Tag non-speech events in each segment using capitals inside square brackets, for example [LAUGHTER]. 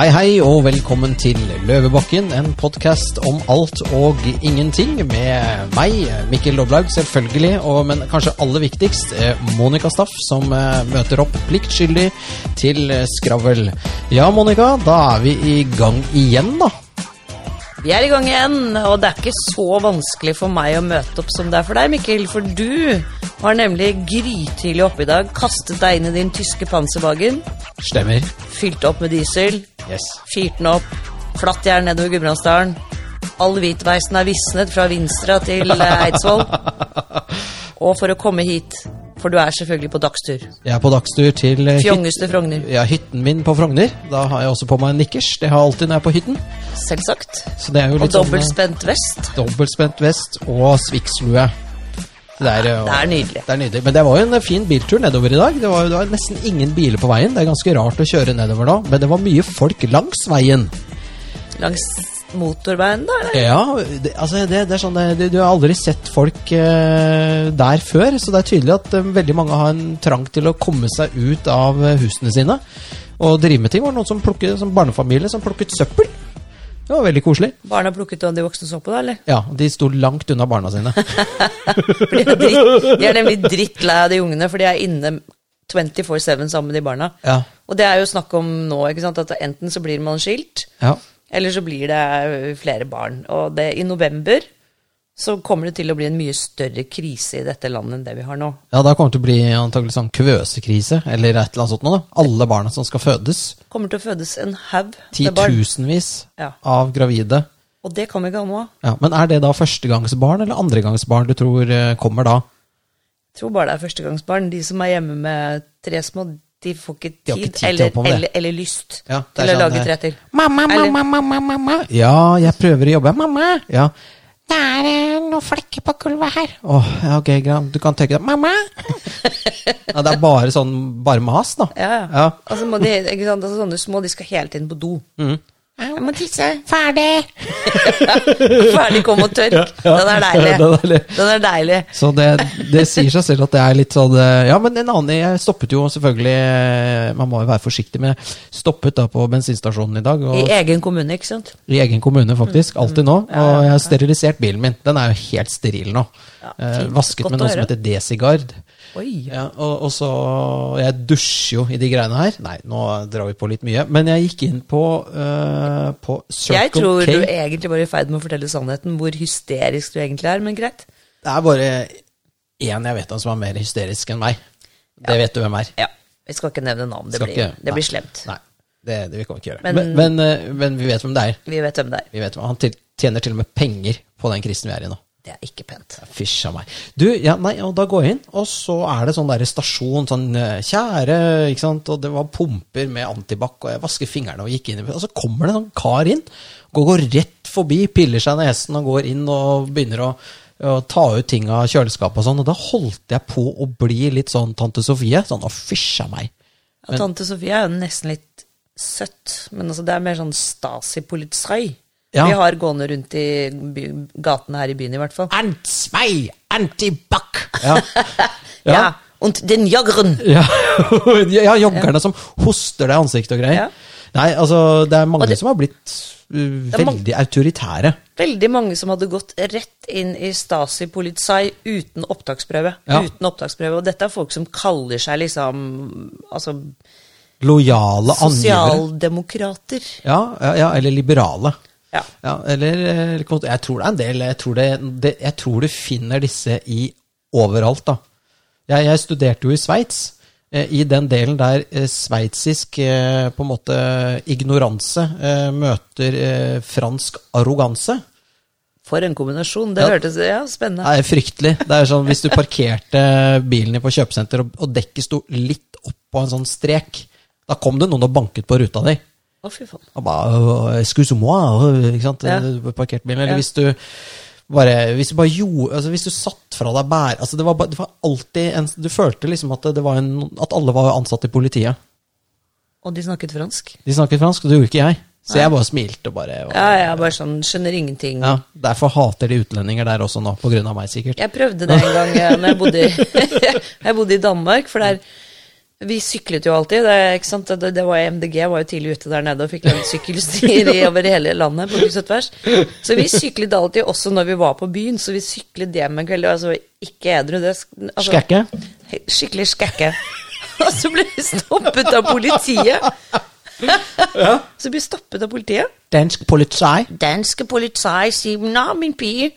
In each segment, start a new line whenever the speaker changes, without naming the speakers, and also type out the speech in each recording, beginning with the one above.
Hei, hei, og velkommen til Løvebakken, en podkast om alt og ingenting med meg, Mikkel Doblaug, selvfølgelig, og, men kanskje aller viktigst, eh, Monica Staff, som eh, møter opp pliktskyldig til eh, skravl. Ja, Monica, da er vi i gang igjen, da.
Vi er i gang igjen, og det er ikke så vanskelig for meg å møte opp som det er for deg, Mikkel. For du var nemlig grytidlig oppe i dag, kastet deg inn i din tyske panservagen,
Stemmer.
fylt opp med diesel,
Yes. [LAUGHS]
fyrt den opp, flatt jern nedover Gudbrandsdalen. All hvitveisen er visnet fra Vinstra til eh,
[LAUGHS]
Eidsvoll. Og for å komme hit, for du er selvfølgelig på dagstur.
Jeg er på dagstur til eh, hyt-
Fjongeste Frogner.
ja, hytten min på Frogner. Da har jeg også på meg nikkers. Det har jeg alltid når jeg er på hytten.
Selvsagt.
Så det er jo
Og
litt sånn eh,
dobbeltspent vest.
dobbeltspent vest og svikslue. Det er, eh,
Det er nydelig.
Det er nydelig. Men det var jo en eh, fin biltur nedover i dag. Det var, jo- det var nesten ingen biler på veien. Det er ganske rart å kjøre nedover da, men det var mye folk langs veien.
Langs motorveien, da? eller?
Ja, det, altså det, det er sånn eh, det, Du har aldri sett folk eh, der før, så det er tydelig at eh, veldig mange har en trang til å komme seg ut av eh, husene sine og drive med ting. Det var noen som plukket, som barnefamilie som plukket søppel. Det var veldig koselig.
Barna plukket og de voksne så på, da, eller?
Ja, de sto langt unna barna
[LAUGHS]
sine.
For de er dritt- De er nemlig drittlei av de ungene, for de er inne 24-7 sammen med de barna.
Ja.
Og det er jo snakk om nå, ikke sant, at enten så blir man skilt,
Ja.
eller så blir det ø, flere barn. Og det, i november så kommer det til å bli en mye større krise i dette landet enn det vi har nå.
Ja, da kommer det til å bli antagelig sånn kvøsekrise, eller et eller annet sånt noe da. Alle barna som skal fødes.
Kommer til å fødes en haug med barn.
Titusenvis
Ja.
av gravide.
Og det kan vi ikke ha noe av.
Ja, men er det da førstegangsbarn eller andregangsbarn du tror eh, kommer da?
Jeg tror bare det er førstegangsbarn. De som er hjemme med tre små, de får ikke tid,
De har ikke tid til å
eller,
holde på med det.
eller, eller lyst
Ja, det er
til å
sånn,
lage
eh,
tretter.
Mamma,
Eller-
mamma, mamma, mamma.
Ja, jeg prøver å jobbe. Mamma! Ja.
Det er eh, noen flekker på gulvet her.
Åh, ja, ok, greit. Du kan tenke deg
[LAUGHS]
Mamma! ja, det er bare sånn bare mas, da.
Ja, ja.
Ja.
Og så må de, ikke sant, altså sånne små, de skal hele tiden på
[LAUGHS]
do.
Jeg
må tisse.
Ferdig.
Ferdig, kom og tørk. Den er deilig.
[LAUGHS] Den er deilig.
Den er deilig.
Så det, det sier seg selv at det er litt sånn eh, Ja, men en annen Jeg stoppet jo selvfølgelig eh, Man må jo være forsiktig, men jeg stoppet da på bensinstasjonen i dag. Og
I egen kommune, ikke sant?
I egen kommune, faktisk.
Mm.
Alltid nå. Og jeg har sterilisert bilen min. Den er jo helt steril nå.
Ja,
Eh,
fint.
vasket
Godt
med
å
noe som
høre.
heter Desigard.
Oi.
Ja, og, og så Jeg dusjer jo i de greiene her. Nei, nå drar vi på litt mye. Men jeg gikk inn på, eh, på Circle
Jeg tror
K.
du egentlig var i ferd med å fortelle sannheten, hvor hysterisk du egentlig er, men greit.
Det er bare én jeg vet om som er mer hysterisk enn meg. Det vet du hvem er.
Ja. Vi skal ikke nevne navn, det
Skal
blir,
ikke-
det blir
nei.
slemt.
Nei, det, det vi kan vi ikke gjøre.
Men-
Men, men, eh, men vi vet hvem det er.
Vi vet hvem det er.
Vi vet, hvem- han til, tjener til og med penger på den krisen vi er i nå.
Det er ikke pent.
Fysj a meg. Du, ja, nei, og da går jeg inn, og så er det sånn der stasjon, sånn eh, kjære, ikke sant, og det var pumper med antibac, og jeg vasket fingrene og gikk inn, i- og så kommer det en sånn kar inn, går, går rett forbi, piller seg i nesen og går inn og begynner å, å ta ut ting av kjøleskapet og sånn, og da holdt jeg på å bli litt sånn Tante Sofie, sånn, å fysj a meg.
Ja, Tante Sofie er jo nesten litt søtt, men altså det er mer sånn Stasi-politsai.
Ja.
Vi har gående rundt i by gatene her i byen i hvert fall.
Ants meg, antibac! Ja,
Ja, und den jageren!
ja. [LAUGHS] ja joggerne som hoster deg i ansiktet og greier.
Ja.
Nei, altså, det er mange
Og det-
som har blitt uh,
er mange-
veldig autoritære.
Veldig mange som hadde gått rett inn i Stasi Polizei uten opptaksprøve.
Ja.
Uten opptaksprøve. Og dette er folk som kaller seg liksom altså,
Lojale angivere.
sosialdemokrater.
Ja, ja, ja, eller liberale.
Ja.
Ja, eller eh, kont- Jeg tror det er en del. Jeg tror, det, det, jeg tror du finner disse i overalt, da. Jeg, jeg studerte jo i Sveits. eh, I den delen der eh, sveitsisk eh, på en måte ignoranse eh, møter eh, fransk arroganse.
For en kombinasjon. Det
Ja.
hørtes ja, spennende
Det er fryktelig. Det er sånn Hvis du parkerte bilen din på kjøpesenter, og, og dekket sto litt oppå en sånn strek, da kom det noen og banket på ruta di.
Å, fy faen.
Og bare «Øh, Excuse moi, øh», ikke sant?
Ja.
Du parkerte bilen. Eller
Ja.
hvis du bare Hvis du bare gjorde altså Hvis du satt fra deg bære altså det, var, bare- det var alltid en Du følte liksom at, det var en, at alle var ansatt i politiet.
Og de snakket fransk?
De snakket fransk, og det gjorde ikke jeg. Så jeg bare smilte og bare
Ja, ja, bare sånn skjønner ingenting.
Ja, Derfor hater de utlendinger der også nå, på grunn av meg, sikkert.
[LAUGHS] Jeg prøvde det en gang eh, når jeg bodde, i- jeg bodde i Danmark, for der Vi syklet jo alltid. Det, ikke sant? Det, det var MDG var jo tidlig ute der nede og fikk lagd sykkelstier i- over hele landet. på kryss og tvers. Så vi syklet alltid, også når vi var på byen. Så vi syklet hjem en kveld. Altså, ikke edru. det sk- altså,
Skække?
he- Skikkelig skække. Og så ble vi stoppet av politiet. Så ble vi stoppet av politiet.
Dansk politi? [LAUGHS]
Danske politi sier 'na, min pige',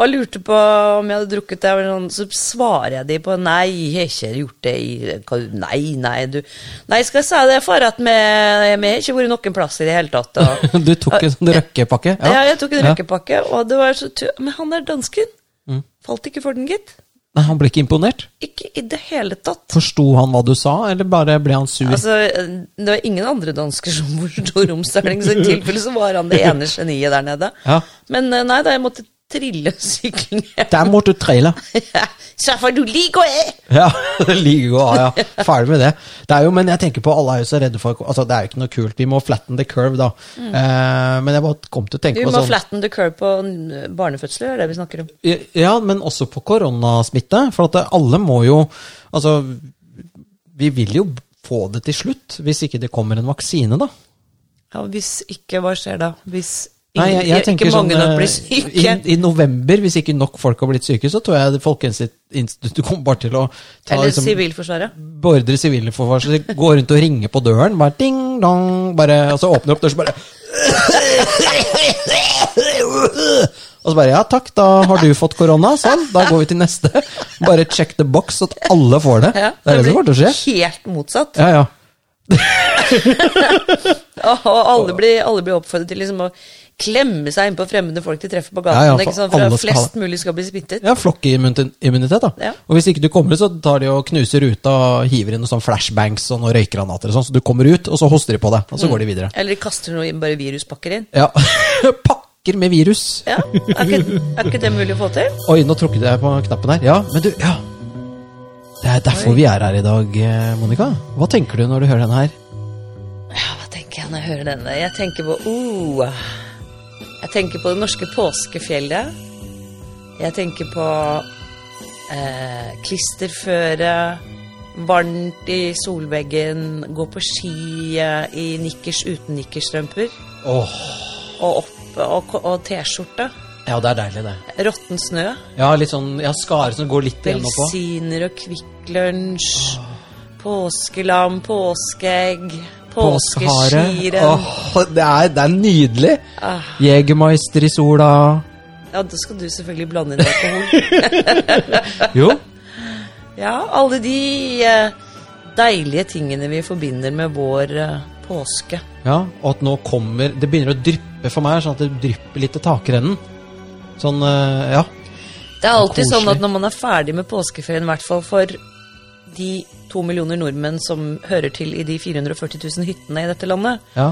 og lurte på om jeg hadde drukket det. og sånn, Så svarer jeg dem på 'nei, jeg har ikke gjort det'. i- hva- Nei, nei, du Nei, skal jeg si det, for at vi vi har ikke vært noen plass i det hele tatt. Og,
[LAUGHS] Du tok en sånn røkkepakke?
[LAUGHS] ja. jeg tok en røkkepakke, og det var så tu- Men han der dansken
Mm.
falt ikke for den, gitt.
Nei, han ble ikke imponert?
Ikke i det hele tatt.
Forsto han hva du sa, eller bare ble han sur?
Altså, Det var ingen andre dansker som [LAUGHS] forsto romstøling, så i tilfelle så var han det ene geniet der nede.
Ja.
Men eh, nei da, jeg måtte trille sykkelen hjem. [LAUGHS]
Der måtte du traile.
Skaffa du liker jeg?
Ja, [LAUGHS] det ligger jo ja, ja. Ferdig med det. det er jo, men jeg tenker på alle er jo så redde for altså Det er jo ikke noe kult. Vi må flatten the curve, da. Eh, men jeg bare kom til å
Du
tenke på
Mm. må
sånn
flatten the curve på n- barnefødsler, er det vi snakker om.
Ja, men også på koronasmitte. For at det- alle må jo Altså, vi vil jo få det til slutt, hvis ikke det kommer en vaksine, da.
Ja, hvis ikke, hva skjer da? Hvis
Nei, jeg, jeg tenker
ikke mange
sånn,
nok blir
eh,
syke?
I, I november, hvis ikke nok folk har blitt syke, så tror jeg Folkehelseinstituttet kommer bare til å ta
Eller
liksom,
Sivilforsvaret?
Bordre sivile forsvar, så de går rundt og ringer på døren, bare ding dong, bare, og så åpner de opp døren, så bare Og så bare ja takk, da har du fått korona, sånn, da går vi til neste. Bare check the box, så at alle får det.
Ja,
det er det som kommer til å skje.
helt motsatt.
Ja, ja.
Ja, og alle blir, alle blir oppfordret til liksom å klemme seg innpå fremmede folk de treffer på gaten.
Ja, ja,
ikke
for
sant? For
alle
at
skal ha
flest
det.
mulig skal bli smittet.
Ja, Flokkimmunitet, da.
Ja.
Og hvis ikke du kommer ut, så tar de og knuser ruta og hiver inn noen sånn flashbangs og noen røykgranater og sånn, så du kommer ut, og så hoster de på deg,
Mm.
og så går de videre.
Eller de kaster noe inn, bare viruspakker inn.
Ja. [LAUGHS] Pakker med virus.
Ja, Er ikke, er ikke det mulig å få til?
Oi, nå trukket jeg på knappen her. Ja, men du, ja. Det er derfor
Oi.
vi er her i dag, eh, Monica. Hva tenker du når du hører denne her?
Ja, hva tenker jeg når jeg hører denne? Jeg tenker på oh, Jeg tenker på det norske påskefjellet. Jeg tenker på eh, klisterføre, varmt i solveggen, gå på ski eh, i nikkers uten nikkerstrømper
Åh,
og opp og, og T-skjorte.
ja, det er deilig, det.
Råtten snø.
Ja, litt sånn, ja, skare som går litt igjen oppå.
Rosiner og Kvikk Lunsj. Påskelam, påskeegg,
Påskehare.
påskeskirenn.
Åh, det er, det er nydelig.
Ah.
Jegermeister i sola.
Ja, da skal du selvfølgelig blande inn
[LAUGHS]
alkohol.
Jo.
Ja, alle de eh, deilige tingene vi forbinder med vår eh, påske.
Ja, og at nå kommer Det begynner å dryppe for meg, sånn at det drypper litt til takrennen. Sånn, eh, ja.
Det er alltid
koselig.
sånn at når man er ferdig med påskeferien, i hvert fall for de to millioner nordmenn som hører til i de 440 000 hyttene i dette landet
ja.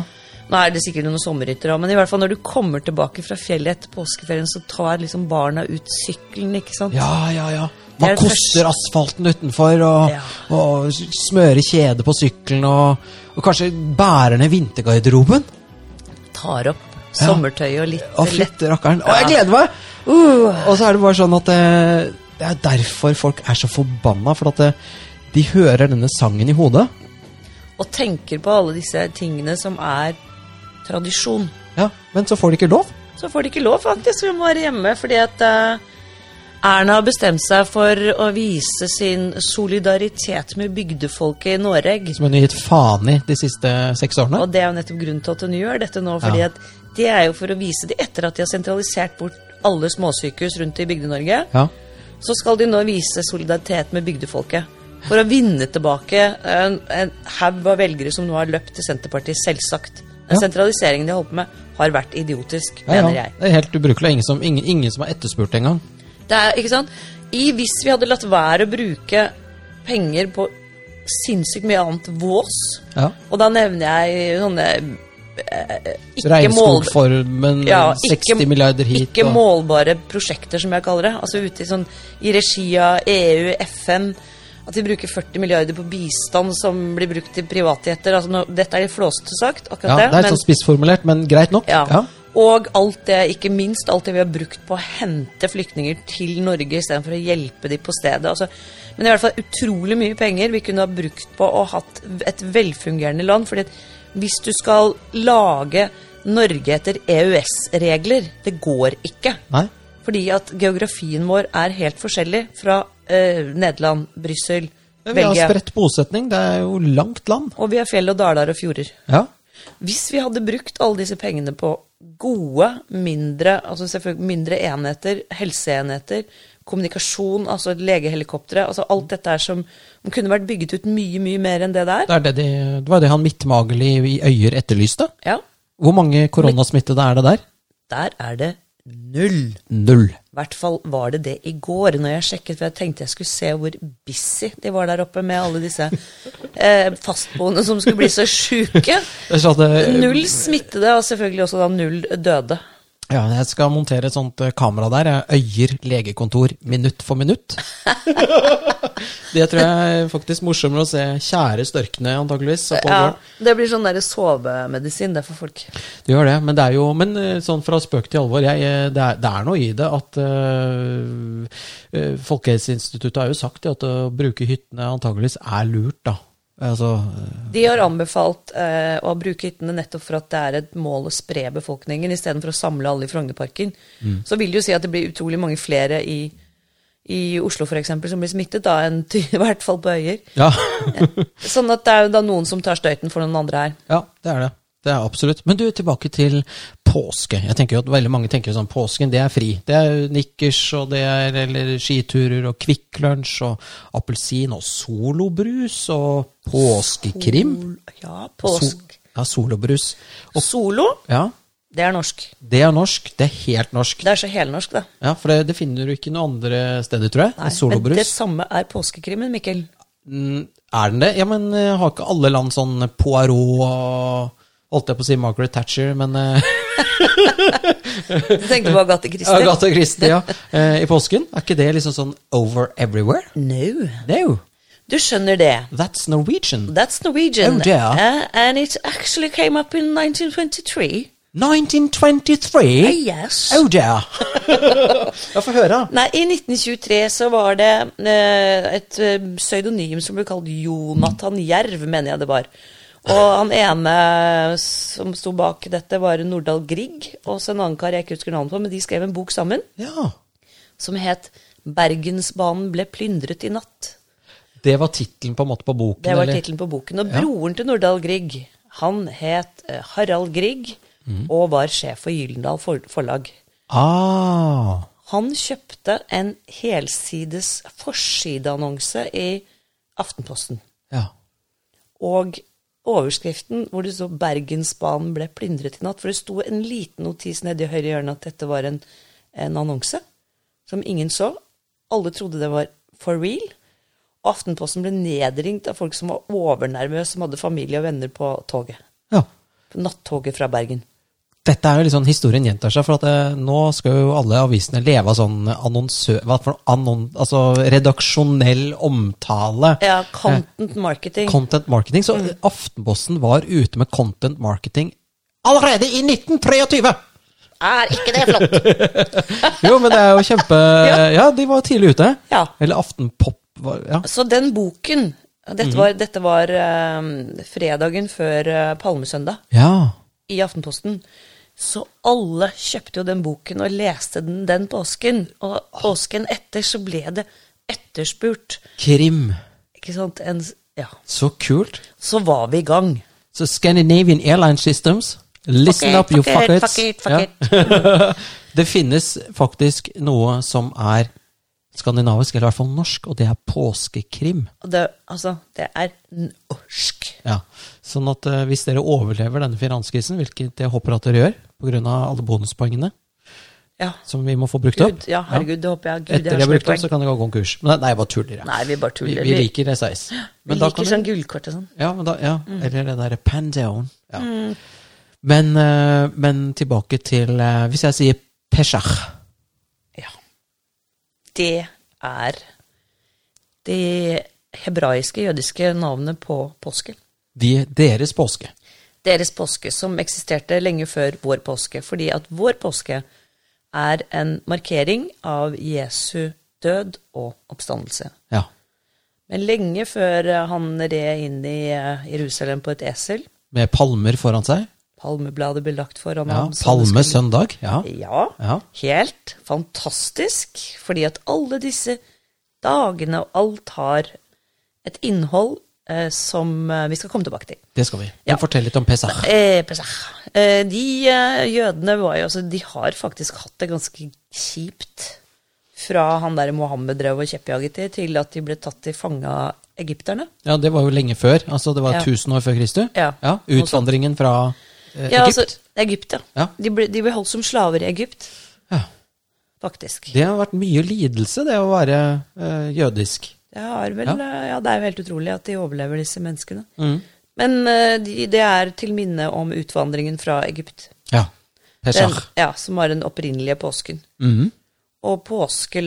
Nå er det sikkert noen sommerhytter òg, men i hvert fall når du kommer tilbake fra fjellet etter påskeferien, så tar liksom barna ut sykkelen, ikke sant?
Ja, ja, ja.
Det
Man
er det
koster asfalten utenfor og,
Ja.
og s- smører kjede på sykkelen og, og kanskje bærer ned vintergarderoben.
Tar opp sommertøyet og litt
Å,
lett
fytti rakkeren. Å, jeg gleder meg!
Uh.
Og så er det bare sånn at det, det er derfor folk er så forbanna, for at det, de hører denne sangen i hodet.
Og tenker på alle disse tingene som er tradisjon.
Ja, Men så får de ikke lov.
så får de ikke lov faktisk, vi må være hjemme, fordi at eh, Erna har bestemt seg for å vise sin solidaritet med bygdefolket i Norge.
Som hun har gitt faen i de siste seks årene.
Og det er jo nettopp grunnen til at hun gjør dette nå, fordi
Ja.
at det er jo for å vise de etter at de har sentralisert bort alle småsykehus rundt i Bygde-Norge,
Ja.
så skal de nå vise solidaritet med bygdefolket. For å vinne tilbake en, en haug av velgere som nå har løpt til Senterpartiet, selvsagt. Den
Ja.
sentraliseringen de har holdt på med, har vært idiotisk,
Ja,
mener
ja.
jeg.
Det er helt ubrukelig. Ingen som, ingen, ingen som har etterspurt det engang.
Det er, ikke sant? I hvis vi hadde latt være å bruke penger på sinnssykt mye annet vås,
Ja.
og da nevner jeg sånne eh, ikke, mål,
Regnskogformen,
ja, ikke,
60 eh, milliarder hit
ikke
og-
målbare prosjekter, som jeg kaller det. Altså ute i, sånn, i regi av E EU, FN. At vi bruker 40 milliarder på bistand som blir brukt til privatjeter. Altså, nå, dette er litt flåsete sagt,
Ja,
akkurat
det er
men-
sånn spissformulert, men greit nok.
ja.
Ja.
Og alt det, ikke minst alt det vi har brukt på å hente flyktninger til Norge istedenfor å hjelpe de på stedet. Altså, men i hvert fall utrolig mye penger vi kunne ha brukt på å hatt et velfungerende land. fordi at hvis du skal lage Norge etter EØS-regler, det går ikke.
Nei?
Fordi at geografien vår er helt forskjellig fra eh, Nederland, Brussel,
Men Vi har
Belgia.
spredt bosetning. Det er jo langt land.
Og vi har fjell og daler og fjorder.
Ja.
Hvis vi hadde brukt alle disse pengene på gode, mindre, altså selvfølgelig mindre enheter, helseenheter, kommunikasjon, altså legehelikoptre, altså alt dette her som kunne vært bygget ut mye, mye mer enn det der.
Det, er det, de, det var det han midtmagelig i Øyer etterlyste.
Ja,
Hvor mange koronasmittede er det der?
der er det null.
Null.
I hvert fall var det det i går, når jeg sjekket, for jeg tenkte jeg skulle se hvor busy de var der oppe med alle disse [LAUGHS] eh, fastboende som skulle bli så sjuke.
Jeg sa det-
Null smittede, og selvfølgelig også da null døde.
Ja, jeg skal montere et sånt eh, kamera der. Jeg øyer legekontor minutt for
[LAUGHS]
minutt. det tror jeg er faktisk morsommere å se kjære størkne, antakeligvis. så på
Ja,
gården.
det blir sånn der sovemedisin det er for folk.
Det gjør det, men det er jo Men eh, sånn fra spøk til alvor, jeg, eh, det, er, det er noe i det at eh, eh, Folkehelseinstituttet har jo sagt det at å bruke hyttene antakeligvis er lurt, da. Altså, eh,
De har anbefalt eh, å bruke hyttene nettopp for at det er et mål å spre befolkningen istedenfor å samle alle i Frognerparken. Så vil det jo si at det blir utrolig mange flere i, i Oslo f.eks. som blir smittet, da, enn [LAUGHS] ty- i hvert fall på Øyer. [LAUGHS]
ja.
Sånn at det er jo da noen som tar støyten for noen andre her.
ja, det er det. Det er absolutt. Men du, tilbake til påske. Jeg tenker jo at Veldig mange tenker jo sånn påsken, det er fri. Det er nikkers, og det er eller skiturer, og Kvikk Lunsj, og appelsin, og solobrus, og påskekrim.
Sol- Ja, påsk.
Ja, solobrus. Og,
Solo,
ja,
det er norsk.
Det er norsk. Det er helt norsk.
Det er så helnorsk, da.
Ja, For det, det finner du ikke noe andre steder, tror jeg.
Nei, men det
Solobrus.
samme er påskekrimmen, Mikkel.
Mm, Er den det? Ja, men eh, har ikke alle land sånn Poirot og Holdt jeg på å si Margaret Thatcher, men
[LAUGHS]
eh,
Du tenkte på Agathe Christie?
Agatha Christie, ja. eh, I påsken. Er ikke det liksom sånn over everywhere?
No.
No,
Du skjønner det.
that's Norwegian.
That's Norwegian.
Oh, dear.
Uh, and it actually came up in 1923.
1923!
Ah, yes.
Oh
[LAUGHS]
dear! ja, få høre.
Nei, i 1923 så var det eh, et eh, pseudonym som ble kalt Jonathan Jerv, mener jeg det var. Og han ene som sto bak dette, var Nordahl Grieg, og så en annen kar jeg ikke husker navnet på, men de skrev en bok sammen
Ja,
som het 'Bergensbanen ble plyndret i natt'.
Det var tittelen på en måte på boken?
Det var
eller?
tittelen på boken. Og broren til Nordahl Grieg, han het eh, Harald Grieg og var sjef for Gyldendal for forlag.
Ah,
Han kjøpte en helsides forsideannonse i Aftenposten.
ja.
Og overskriften hvor det sto 'Bergensbanen ble plyndret i natt', for det sto en liten notis nedi høyre hjørne at dette var en, en annonse som ingen så. Alle trodde det var for real. Og Aftenposten ble nedringt av folk som var overnervøse, som hadde familie og venner på toget.
ja.
På nattoget fra Bergen.
Dette er jo litt sånn historien gjentar seg, for at eh, nå skal jo alle avisene leve av sånn annonsø... Hva for noe? annon... Altså redaksjonell omtale. Eh,
Ja, content Mm. marketing.
Content marketing. Så Aftenposten var ute med content marketing allerede i
[LAUGHS]
1923!
Er ikke det flott?
Jo, men det er jo kjempe Ja, de var tidlig ute.
Ja.
Eller Aftenpop var Ja.
Så den boken Dette var, dette var eh, fredagen før eh, Palmesøndag
ja.
i Aftenposten. Så alle kjøpte jo den boken og leste den den påsken. Og påsken etter så ble det etterspurt.
Krim.
Ikke sant? En, ja.
Så kult.
Så var vi i gang.
Så Scandinavian Airline Systems, listen
Fuck
up, you
it, fuck it,
fuckers.
fuck it, fuck
Ja. det finnes faktisk noe som er skandinavisk, eller i hvert fall norsk, og det er påskekrim.
Og det, altså, det er norsk.
Ja. Sånn at eh, hvis dere overlever denne finanskrisen, hvilket jeg håper at dere gjør, pga. alle bonuspoengene
Ja.
som vi må få brukt opp
Gud, ja, herregud, det håper jeg. Gud,
Etter
jeg
de har
har
brukt
slått
opp, så
poeng.
kan det gå konkurs. Men nei, jeg bare tuller. jeg.
Nei, vi bare
Vi,
tuller.
vi
Vi-
liker SAS.
[GASPS] Vi
Men da kan
liker sånn gullkort og sånn.
Ja, men da, ja. eller det derre Pandown. Ja.
Mm.
Men, eh, men tilbake til eh, Hvis jeg sier Peshach
Ja. Det er det hebraiske, jødiske navnet på påske.
de, Deres påske.
deres påske, som eksisterte lenge før vår påske. Fordi at vår påske er en markering av Jesu død og oppstandelse.
Ja.
Men lenge før eh, han red inn i eh, Jerusalem på et esel,
Med palmer foran seg.
palmebladet ble lagt foran
Ja,
ham så det
Palme
skulle-
søndag. Ja.
Ja,
Ja.
helt fantastisk, fordi at alle disse dagene og alt har et innhold eh, som eh, vi skal komme tilbake til.
Det skal vi.
Ja.
Men fortell litt om Pesach.
Eh, Pesach. Eh, de eh, jødene var jo altså, De har faktisk hatt det ganske kjipt fra han der Mohammed drev og kjeppjaget de, til at de ble tatt til fange av egypterne.
Ja, det var jo lenge før. Altså, det var
Ja.
1000 år før Kristus.
Ja.
Utvandringen fra eh,
Ja,
Egypt.
altså, Egypt, ja.
Ja.
De, ble, de ble holdt som slaver i Egypt,
Ja.
faktisk.
Det har vært mye lidelse, det å være eh, jødisk.
Det, har vel,
Ja. Mm.
eh, ja, det er jo helt utrolig at de overlever, disse menneskene. Men eh, de, det er til minne om utvandringen fra Egypt.
Ja.
Den,
Pesach.
ja, som var den opprinnelige påsken.
Mhm.
Og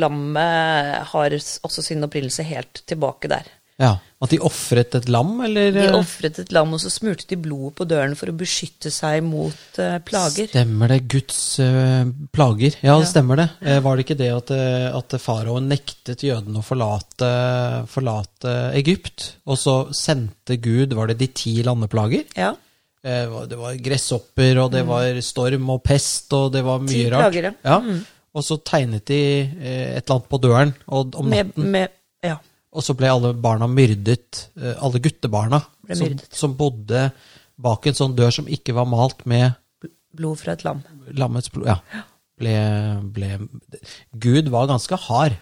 påskelammet har s- også sin opprinnelse helt tilbake der.
Ja. At de ofret et lam, eller
De
eh,
ofret et lam, og så smurte de blodet på døren for å beskytte seg mot eh, plager.
Stemmer det. Guds eh, plager. Ja, det stemmer det. Eh, var det ikke det at, eh, at faraoen nektet jødene å forlate, forlate Egypt? Og så sendte Gud, var det de ti landeplager?
Ja,
Eh, hva- Det var gresshopper, og det var storm og pest, og det var mye
Mm. Ti
rart.
plager, ja. Mm.
ja. Og så tegnet de eh, et eller annet på døren og, om
med,
natten,
med, ja.
og så ble alle barna myrdet. eh, Alle guttebarna
Ble
som,
myrdet.
som bodde bak en sånn dør som ikke var malt med
Blod fra et lam.
lammets blod. Ja. Ble, ble Gud var ganske hard.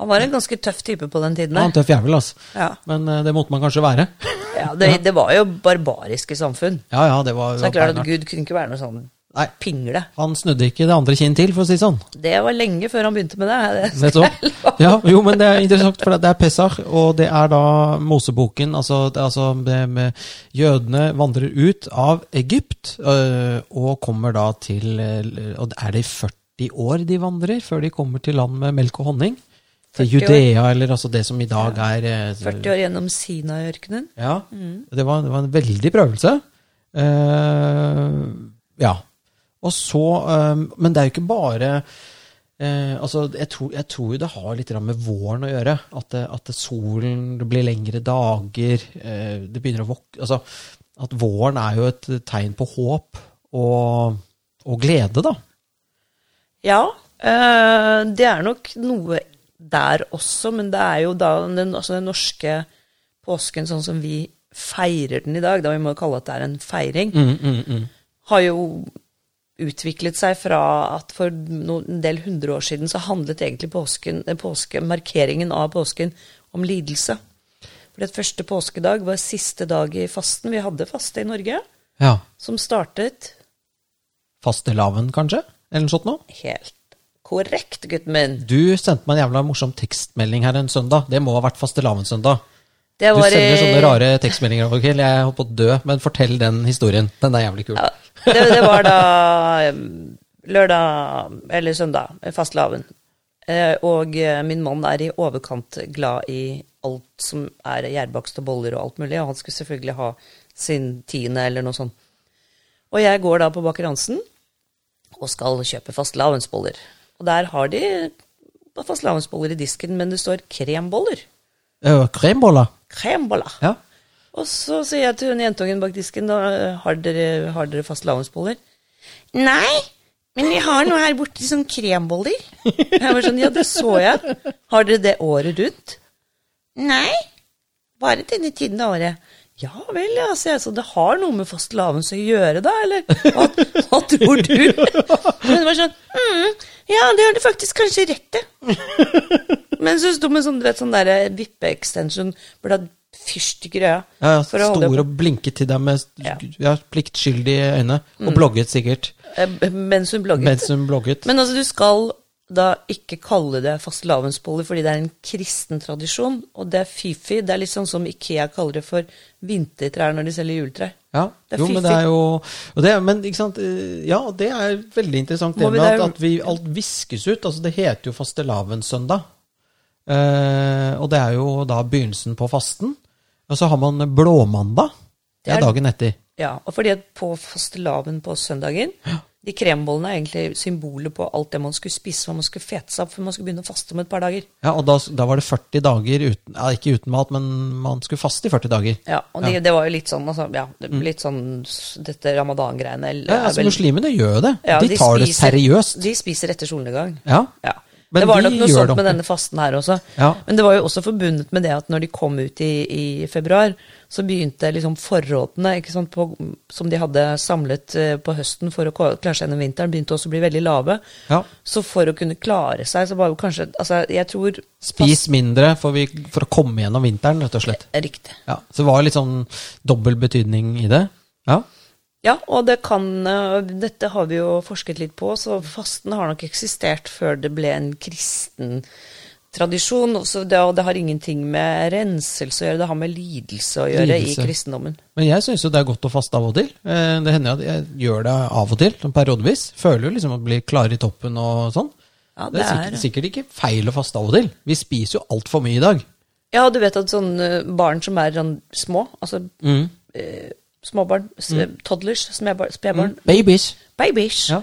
Han var en ganske tøff type på den tiden.
Han var en
Der.
tøff jævel, altså.
Ja.
Men eh, det måtte man kanskje være. [LAUGHS]
Ja, det, det var jo barbariske samfunn.
Ja, ja, det var,
Så det er klart at
beinhardt.
Gud kunne ikke være noe sånn
Nei.
pingle.
Han snudde ikke det andre kinn til, for å si det sånn.
Det var lenge før han begynte med det. det [LAUGHS] skal jeg
Nettopp.
love.
Ja, jo, men det er interessant, for det er Pesach, og det er da Moseboken. Altså, det, altså det med jødene vandrer ut av Egypt, øh, og kommer da til øh, Og er det i 40 år de vandrer før de kommer til land med melk og honning? Til
40 år.
Judea, eller altså det som i dag er eh,
40 år gjennom Sinai-ørkenen.
Ja. Mm. Det, var, det var en veldig prøvelse. Eh, ja. Og så eh, Men det er jo ikke bare eh, altså, jeg, tror, jeg tror jo det har litt grann med våren å gjøre. At, det, at det solen Det blir lengre dager. eh, det begynner å vok... Altså, at våren er jo et tegn på håp og, og glede, da.
Ja, eh, det er nok noe der også, men det er jo da den, altså den norske påsken sånn som vi feirer den i dag, da vi må kalle at det er en feiring,
Mm,
har jo utviklet seg fra at for no, en del hundre år siden så handlet egentlig påsken, eh, påske, markeringen av påsken om lidelse. For det første påskedag var siste dag i fasten. Vi hadde faste i Norge,
Ja.
som startet
Fastelavn, kanskje? Eller noe sånt noe?
helt korrekt, gutten min.
Du sendte meg en jævla morsom tekstmelding her en søndag. Det må ha vært fastelavnssøndag.
Det
Du
var i-
sender sånne rare tekstmeldinger. Ok, jeg holdt på å dø, men fortell den historien. Den er jævlig kul.
Ja, det, det var da eh, lørdag eller søndag, eh, fastelavn. Eh, Og eh, min mann er i overkant glad i alt som er gjærbakst og boller og alt mulig, og han skulle selvfølgelig ha sin tiende eller noe sånt. Og jeg går da på Baker Hansen og skal kjøpe fastelavnsboller. Og der har de fastelavnsboller i disken, men det står kremboller.
Øh, Kremboller.
Kremboller.
Ja.
Og så sier jeg til hun jentungen bak disken, da, eh, har dere, har dere fastelavnsboller?
Nei, men vi har noe her borte som kremboller.
Jeg var sånn, ja, det så jeg. Har dere det året rundt?
Nei,
Bare denne tiden av året. Ja vel, ja, sier jeg. Så det har noe med fastelavns å gjøre, da, eller? Hva, hva tror du? Hun var sånn, mm, ja, det har du faktisk kanskje rett til. Men så sto med sånn, du vet, sånn der vippe-extension, hvor det hadde fyrstikker i øya.
Ja, ja,
for å holde-
Stor og blinket til deg med
Ja.
ja, pliktskyldige øyne. Og blogget sikkert
Eh, Mens hun blogget.
mens hun blogget.
Men altså, du skal da ikke kalle det fastelavnsboller, fordi det er en kristen tradisjon, og det er fifi. Det er litt sånn som Ikea kaller det for vintertrær når de selger juletrær.
Ja,
Det er
jo, men
fiffig.
det er jo og det, er- Men ikke sant, eh, ja, det er veldig interessant det
Må vi
med at,
der-
at vi alt viskes ut. Altså, det heter jo fastelavnssøndag. Eh, og det er jo da begynnelsen på fasten. Og så har man blåmandag, Det er dagen etter.
Ja, og fordi at på fastelavn på søndagen De krembollene er egentlig symbolet på alt det man skulle spise, og man skulle fete seg opp før man skulle begynne å faste om et par dager.
Ja, og da, da var det 40 dager uten ja, Ikke uten mat, men man skulle faste i 40 dager.
Ja, og de, det var jo litt sånn, altså, ja, det- litt sånn s- dette ramadan-greiene. eller-
Mm. Ja, altså
er vel-
Muslimene gjør jo det.
ja,
de, tar det
spiser-
seriøst.
De spiser etter solnedgang.
Ja.
Ja.
Men
det var
vi
nok
gjør
noe sånt
det
med
ordentlig.
denne fasten her også.
Ja.
Men det var jo også forbundet med det at når de kom ut i, i februar, så begynte liksom forrådene ikke sant, på, som de hadde samlet eh, på høsten for å ko- klare seg gjennom vinteren, begynte også å bli veldig lave.
Ja.
Så for å kunne klare seg, så var jo kanskje altså, Jeg tror
Spis mindre for, vi, for å komme gjennom vinteren, rett og slett.
Fast- Riktig.
Ja, så det var litt sånn dobbel betydning i det. Ja.
Ja, og det kan eh, Dette har vi jo forsket litt på, så fasten har nok eksistert før det ble en kristen tradisjon. og så det, og det har ingenting med renselse å gjøre, det har med lidelse å gjøre
Lidelse.
i kristendommen.
Men jeg syns jo det er godt å faste av og til. Eh, Det hender jo at jeg gjør det av og til, sånn periodevis. Føler jo liksom at blir klar i toppen og sånn.
Ja,
det er
det er-
sikkert, sikkert ikke feil å faste av og til. Vi spiser jo altfor mye i dag.
Ja, du vet at sånne barn som er sånn små, altså
Mm.
eh, småbarn, s- toddlers, smedbar- spedbarn,
Babies. Mm.
babies,
Ja.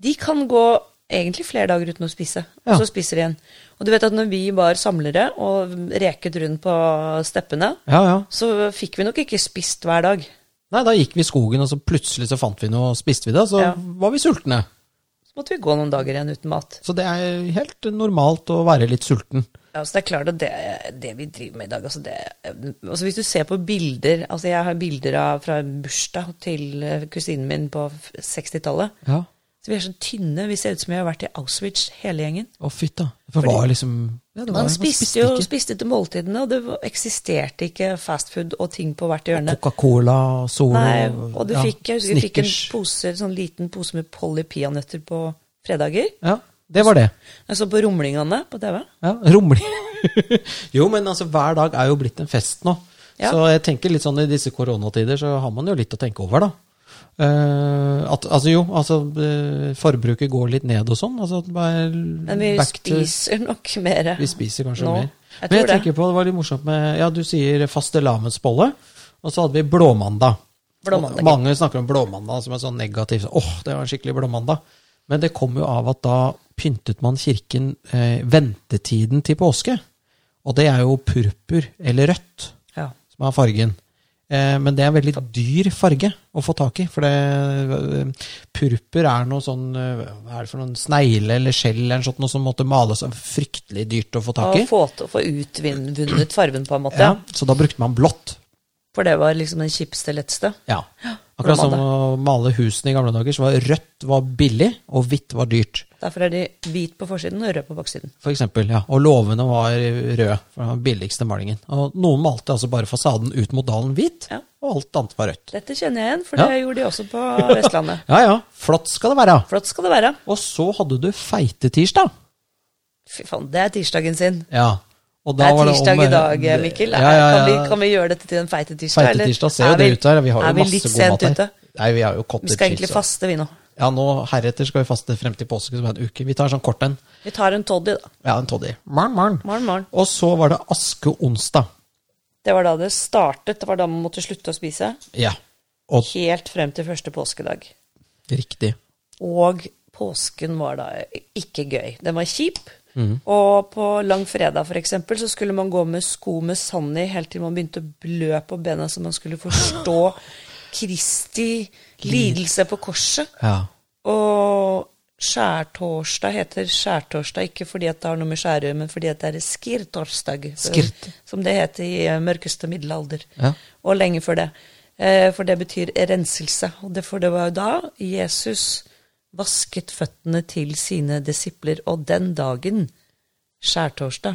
de kan gå egentlig flere dager uten å spise, og
Ja.
så spiser de igjen. Og du vet at når vi var samlere og reket rundt på steppene,
Ja, ja.
så fikk vi nok ikke spist hver dag.
Nei, da gikk vi i skogen, og så plutselig så fant vi noe, og spiste vi det, og så
Ja.
var vi sultne.
Så måtte vi gå noen dager igjen uten mat.
Så det er helt normalt å være litt sulten.
Ja, så det er klart at det, det vi driver med i dag altså det, altså Hvis du ser på bilder altså Jeg har bilder av, fra bursdag til eh, kusinen min på f- 60-tallet.
Ja.
Så vi er så tynne. Vi ser ut som vi har vært i Auschwitz, hele gjengen.
Å, fytta. For det var liksom ja, det var,
Man spiste jo
ikke.
spiste til måltidene, og det var- eksisterte ikke fastfood og ting på hvert hjørne.
Coca-Cola og Solo
Nei, og du
ja,
fikk, jeg husker, du fikk en
Snickers.
pose, sånn liten pose med Polly peanøtter på fredager.
Ja, det var det.
Jeg så på Rumlingene på TV.
Ja, Rumling [LAUGHS] Jo, men altså, hver dag er jo blitt en fest nå.
Ja.
Så jeg tenker litt sånn i disse koronatider, så har man jo litt å tenke over, da. Eh, at, altså jo, altså eh, forbruket går litt ned og sånn. Altså, at bare
Men vi
back to-
spiser nok mer.
Vi spiser kanskje
nå.
mer.
Jeg
Men jeg
tror det.
tenker på, det var litt morsomt med Ja, du sier fastelavnsbolle, og så hadde vi blåmandag.
Blåmandag.
Og Mange snakker om blåmandag som er sånn negativ. så, Åh, det var en skikkelig blåmandag. Men det kom jo av at da pyntet man kirken eh, ventetiden til påske. Og det er jo purpur eller rødt
Ja.
som er fargen. Eh, men det er en veldig dyr farge å få tak i. For det, eh, purpur er noe sånn eh, Hva er det for noen snegle eller skjell eller sånt, noe som måtte males? er Fryktelig dyrt å få tak
Og
i.
få, til- få utvunnet farven på en måte.
Ja, så da brukte man blått.
For det var liksom den kjipeste, letteste.
Ja. Akkurat som å male husene i gamle dager, så var rødt var billig, og hvitt var dyrt.
Derfor er de hvit på forsiden og rød på baksiden.
For eksempel, ja. Og låvene var røde, for det var den billigste malingen. Og noen malte altså bare fasaden ut mot dalen hvit,
Ja.
og alt annet var rødt.
Dette kjenner jeg igjen, for
Ja.
det gjorde de også på Vestlandet.
Ja ja, flott skal det være.
Flott skal det være.
Og så hadde du feitetirsdag.
Fy faen, det er tirsdagen sin.
Ja. Og
Det
da
er
var om-
tirsdag i dag, eh, Mikkel.
Ja, ja, ja.
Kan, vi, kan vi gjøre dette til en feite tirsdag? eller?
Feitetirsdag ser jo
Er vi-
det ut her. Vi har
er
jo
vi
masse
litt
god mat
sent
her.
ute?
Nei, vi har jo
Vi
cottage
skal egentlig
cheese og-
faste, vi nå.
Ja, nå Heretter skal vi faste frem til påske, som er en uke. Vi tar sånn kort en.
Vi tar en toddy, da.
Ja, en toddy. Morn, morn.
Morgen, morgen.
Og så var det askeonsdag.
Det var da det startet. Det var da man måtte slutte å spise.
Ja. Og
Helt frem til første påskedag.
riktig.
Og påsken var da ikke gøy. Den var kjip. Og på langfredag for eksempel, så skulle man gå med sko med sand i helt til man begynte å blø på bena, så man skulle forstå Kristi lidelse på korset.
Ja.
Og skjærtorsdag heter skjærtorsdag ikke fordi at det har noe med skjærøy, men fordi at det er skirtorsdag, som-
Skirt.
som det het i eh, mørkeste middelalder.
Ja.
Og lenge før det. Eh, For det betyr renselse. Og det, for det var jo da Jesus vasket føttene til sine disipler, og den dagen, skjærtorsdag,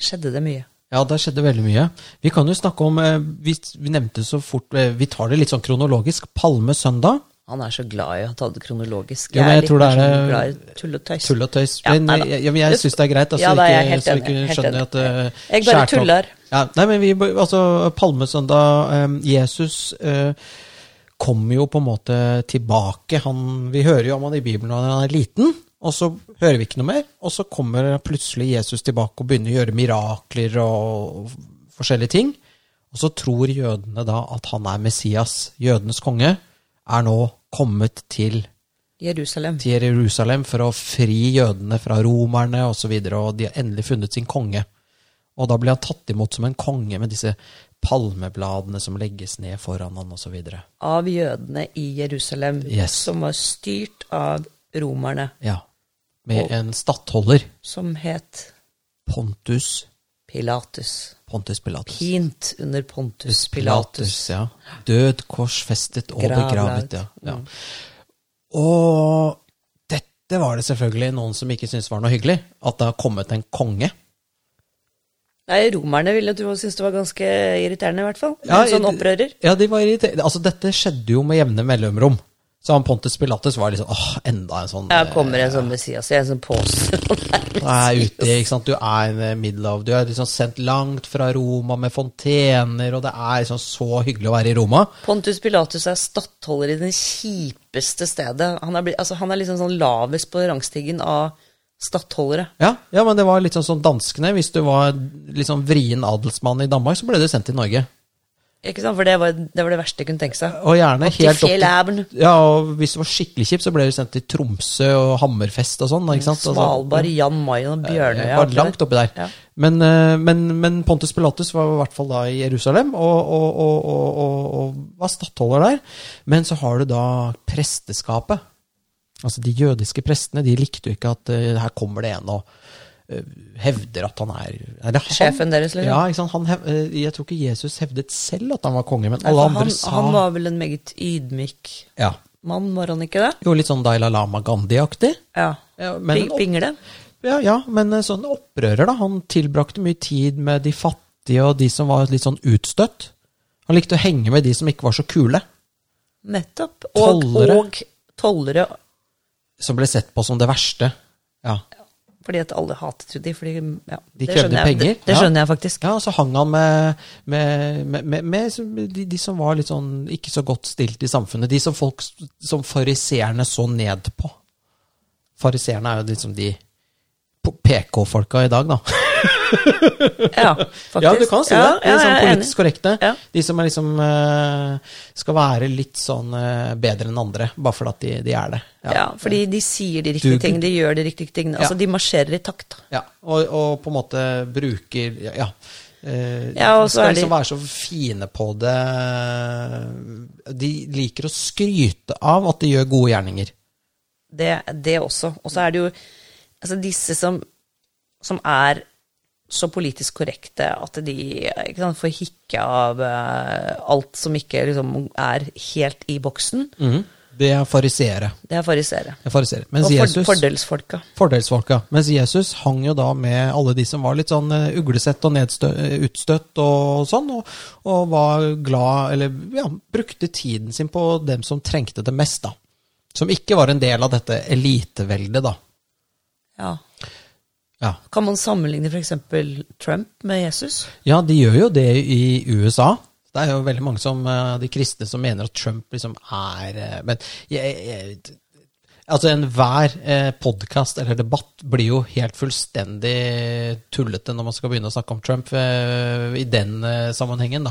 skjedde det mye.
Ja, der skjedde veldig mye. Vi kan jo snakke om eh, Vi, vi nevnte så fort eh, Vi tar det litt sånn kronologisk. Palmesøndag.
Han er så glad i å ta det kronologisk.
Jo, men jeg tror det er
mer sånn
det-
glad i tull og tøys.
Tull og tøys.
Ja,
men
nei da.
jeg, jeg, jeg syns det er greit. Altså,
Ja, da er jeg
ikke,
helt
så
enig,
ikke
helt
skjønner
enig.
at eh,
Jeg bare
skjærtak-
tuller.
Ja, nei, men vi, bør- altså, Palmesøndag eh, Jesus eh, kommer jo på en måte tilbake. Han, vi hører jo om han i Bibelen når han er liten, og så hører vi ikke noe mer. Og så kommer plutselig Jesus tilbake og begynner å gjøre mirakler og forskjellige ting. Og så tror jødene da at han er Messias. Jødenes konge er nå kommet til
Jerusalem.
til Jerusalem for å fri jødene fra romerne osv., og, så videre, og de har endelig funnet sin konge. Og da blir han tatt imot som en konge med disse palmebladene som legges ned foran han osv.
Av jødene i Jerusalem,
Yes.
som var styrt av romerne,
Ja. Med en stattholder,
som het
Pontus
Pilatus.
Pontus Pilatus.
Pint under Pontus Pilatus.
ja. Død, korsfestet og
Gravlagt.
begravet. Ja. Ja. Og dette var det selvfølgelig noen som ikke syntes var noe hyggelig. At det har kommet en konge.
Nei, romerne ville tro og syntes det var ganske irriterende, i hvert fall.
Ja,
en sånn
i-
opprører.
Ja, de var irritert. Altså, dette skjedde jo med jevne mellomrom. Så han Pontus Pilatus var liksom åh, enda en sånn
Ja, kommer en sånn Messias i en sånn pose.
eh, er ute, ikke sant? Du er en eh, middelhav. Du er liksom sendt langt fra Roma med fontener, og det er liksom så hyggelig å være i Roma.
[LAUGHS] Pontus Pilatus er stattholder i det kjipeste stedet. Han er, blitt- altså, han er liksom sånn lavest på rangstigen av stattholdere.
Ja, ja men det var litt sånn som danskene. Hvis du var litt sånn vrien adelsmann i Danmark, så ble du sendt til Norge.
Ikke sant? For det var det, var det verste jeg kunne tenke seg.
Og gjerne
til
helt opp
Fjellabern.
Ja, og hvis du var skikkelig kjip, så ble du sendt til Tromsø og Hammerfest og sånn. ikke sant? Altså- Eh,
Svalbard, Jan Mayen og Bjørnøya.
Det var langt oppi der.
Ja.
Men, eh, men, men Pontus Pilatus var i hvert fall da i Jerusalem og, og, og, og, og, og var stattholder der. Men så har du da presteskapet. Altså De jødiske prestene de likte jo ikke at eh, her kommer det en og eh, hevder at han er, er det han?
Sjefen deres, liksom?
Ja, ikke sant? Han hev, eh, jeg tror ikke Jesus hevdet selv at han var konge, men
Nei,
alle
for
andre
Altså,
sa
han, han var vel en meget ydmyk
ja.
mann, var han ikke det?
Jo, litt sånn Daila Lama Gandhi-aktig.
Ja.
Ja, men
Ping-
opp-
Pingle.
Ja, ja, men eh, sånn opprører, da. Han tilbrakte mye tid med de fattige og de som var litt sånn utstøtt. Han likte å henge med de som ikke var så kule.
Nettopp. Og
Tollere.
tollere. og tollere.
Som ble sett på som det verste. Ja,
Fordi at alle hatet jo de. Fordi, ja,
De
det
krevde
skjønner jeg.
penger,
Det, det
ja.
skjønner jeg
[LAUGHS]
faktisk.
ja og så hang han med, med, med, med, med som- de, de som var litt sånn ikke så godt stilt i samfunnet. De som folk s- som fariseerne så ned på. Fariseerne er jo liksom de p- PK-folka i dag, da.
Ja, faktisk.
Ja, du kan si det. De som
Ja, ja, jeg er enig.
politisk korrekte.
Ja.
De som er liksom eh, skal være litt sånn eh, bedre enn andre, bare fordi at de, de er det.
Ja. fordi de sier de riktige
Du-
tingene, de gjør de riktige tingene. Altså,
Ja.
de marsjerer i takt. da.
Ja, og, og på en måte bruker Ja. ja. eh,
Ja, og så
skal
er de-
liksom være så fine på det De liker å skryte av at de gjør gode gjerninger.
Det, det også. Og så er det jo altså, disse som, som er så politisk korrekte at de ikke sant, får hikke av eh, alt som ikke liksom, er helt i boksen.
Mm. Det er fariseere.
Det er farisere.
Det er fariseere. Mens
Mm. Og for,
Jesus
fordelsfolka.
Fordelsfolka. Mens Jesus hang jo da med alle de som var litt sånn eh, uglesett og nedstø eh, utstøtt og sånn, og, og var glad Eller ja, brukte tiden sin på dem som trengte det mest, da. Som ikke var en del av dette eliteveldet, da.
Ja.
Ja.
Kan man sammenligne f.eks. Trump med Jesus?
ja, de gjør jo det i USA. Det er jo veldig mange som, eh, de kristne som mener at Trump liksom er eh, Men jeg, jeg, altså enhver eh, podkast eller debatt blir jo helt fullstendig tullete når man skal begynne å snakke om Trump eh, i den eh, sammenhengen, da.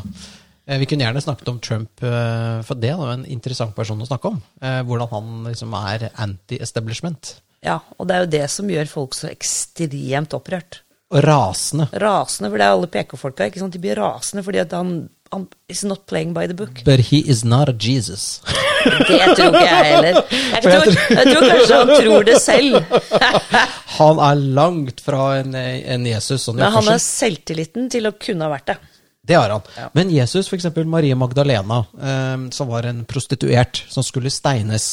Eh, Vi kunne gjerne snakket om Trump, eh, for det er jo en interessant person å snakke om. eh, Hvordan han liksom er anti-establishment.
Ja, og det er jo det som gjør folk så ekstremt opprørt.
Og rasende.
Rasende, for det er alle PK-folka. ikke sant? De blir rasende fordi at han, han is not playing by the book.
But he is not a Jesus.
Det tror ikke jeg heller. Jeg
jeg
tror, jeg tror kanskje han tror det
[LAUGHS]
selv.
Han er langt fra en, en Jesus. Sånn i
Men han
oppførsel.
har selvtilliten til å kunne ha vært det.
Det har han. Men Jesus, for eksempel Marie Magdalena, eh, som var en prostituert som skulle steines.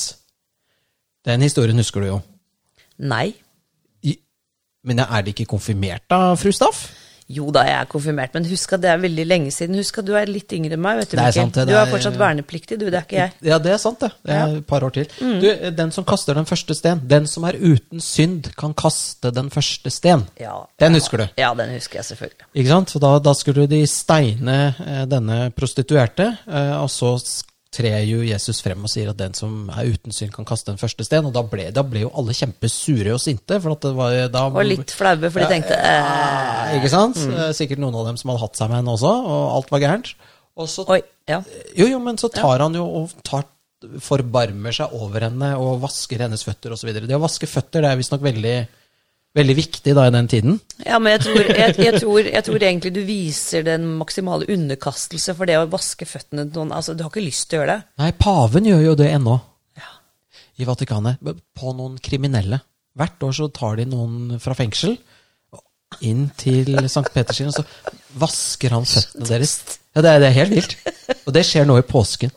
Den historien husker du jo.
Nei.
I- Men er de ikke konfirmert da, fru Staff?
Jo da, jeg er konfirmert, men husk at det er veldig lenge siden. Husk at du er litt yngre enn meg, vet du,
Det er
Mikkel.
sant, det.
Du
Det
er
er-
fortsatt vernepliktig, du. Det er ikke jeg.
Ja, det er sant, det. Det er
Ja. Mm.
Et par år til. Du, den som kaster den første sten, den som er uten synd, kan kaste den første sten.
Ja.
Den husker du.
Ja, den husker jeg selvfølgelig.
Ikke sant? Så da, da skulle de steine eh, denne prostituerte, eh, og så s- trer jo Jesus frem og sier at den som er uten synd, kan kaste den første sten. Og da ble, da ble jo alle kjempesure og sinte. For at det var, eh, da,
Og litt flaue, for de tenkte eh,
Ja, Ikke sant? Eh, Sikkert noen av dem som hadde hatt seg med henne også, og alt var gærent. Og så,
Oi. Ja.
jo, jo, men så tar han jo og tar, forbarmer seg over henne og vasker hennes føtter osv. Det å vaske føtter det er visstnok veldig, veldig viktig da i den tiden.
ja, men jeg tror, jeg, jeg, tror, jeg tror egentlig du viser den maksimale underkastelse for det å vaske føttene til noen. Altså, du har ikke lyst til å gjøre det.
Nei, paven gjør jo det ennå
Ja.
i Vatikanet. b- På noen kriminelle. Hvert år så tar de noen fra fengsel inn til St. Peterskirken, og så vasker han føttene deres. Ja, det er, det er helt vilt. Og det skjer nå i påsken.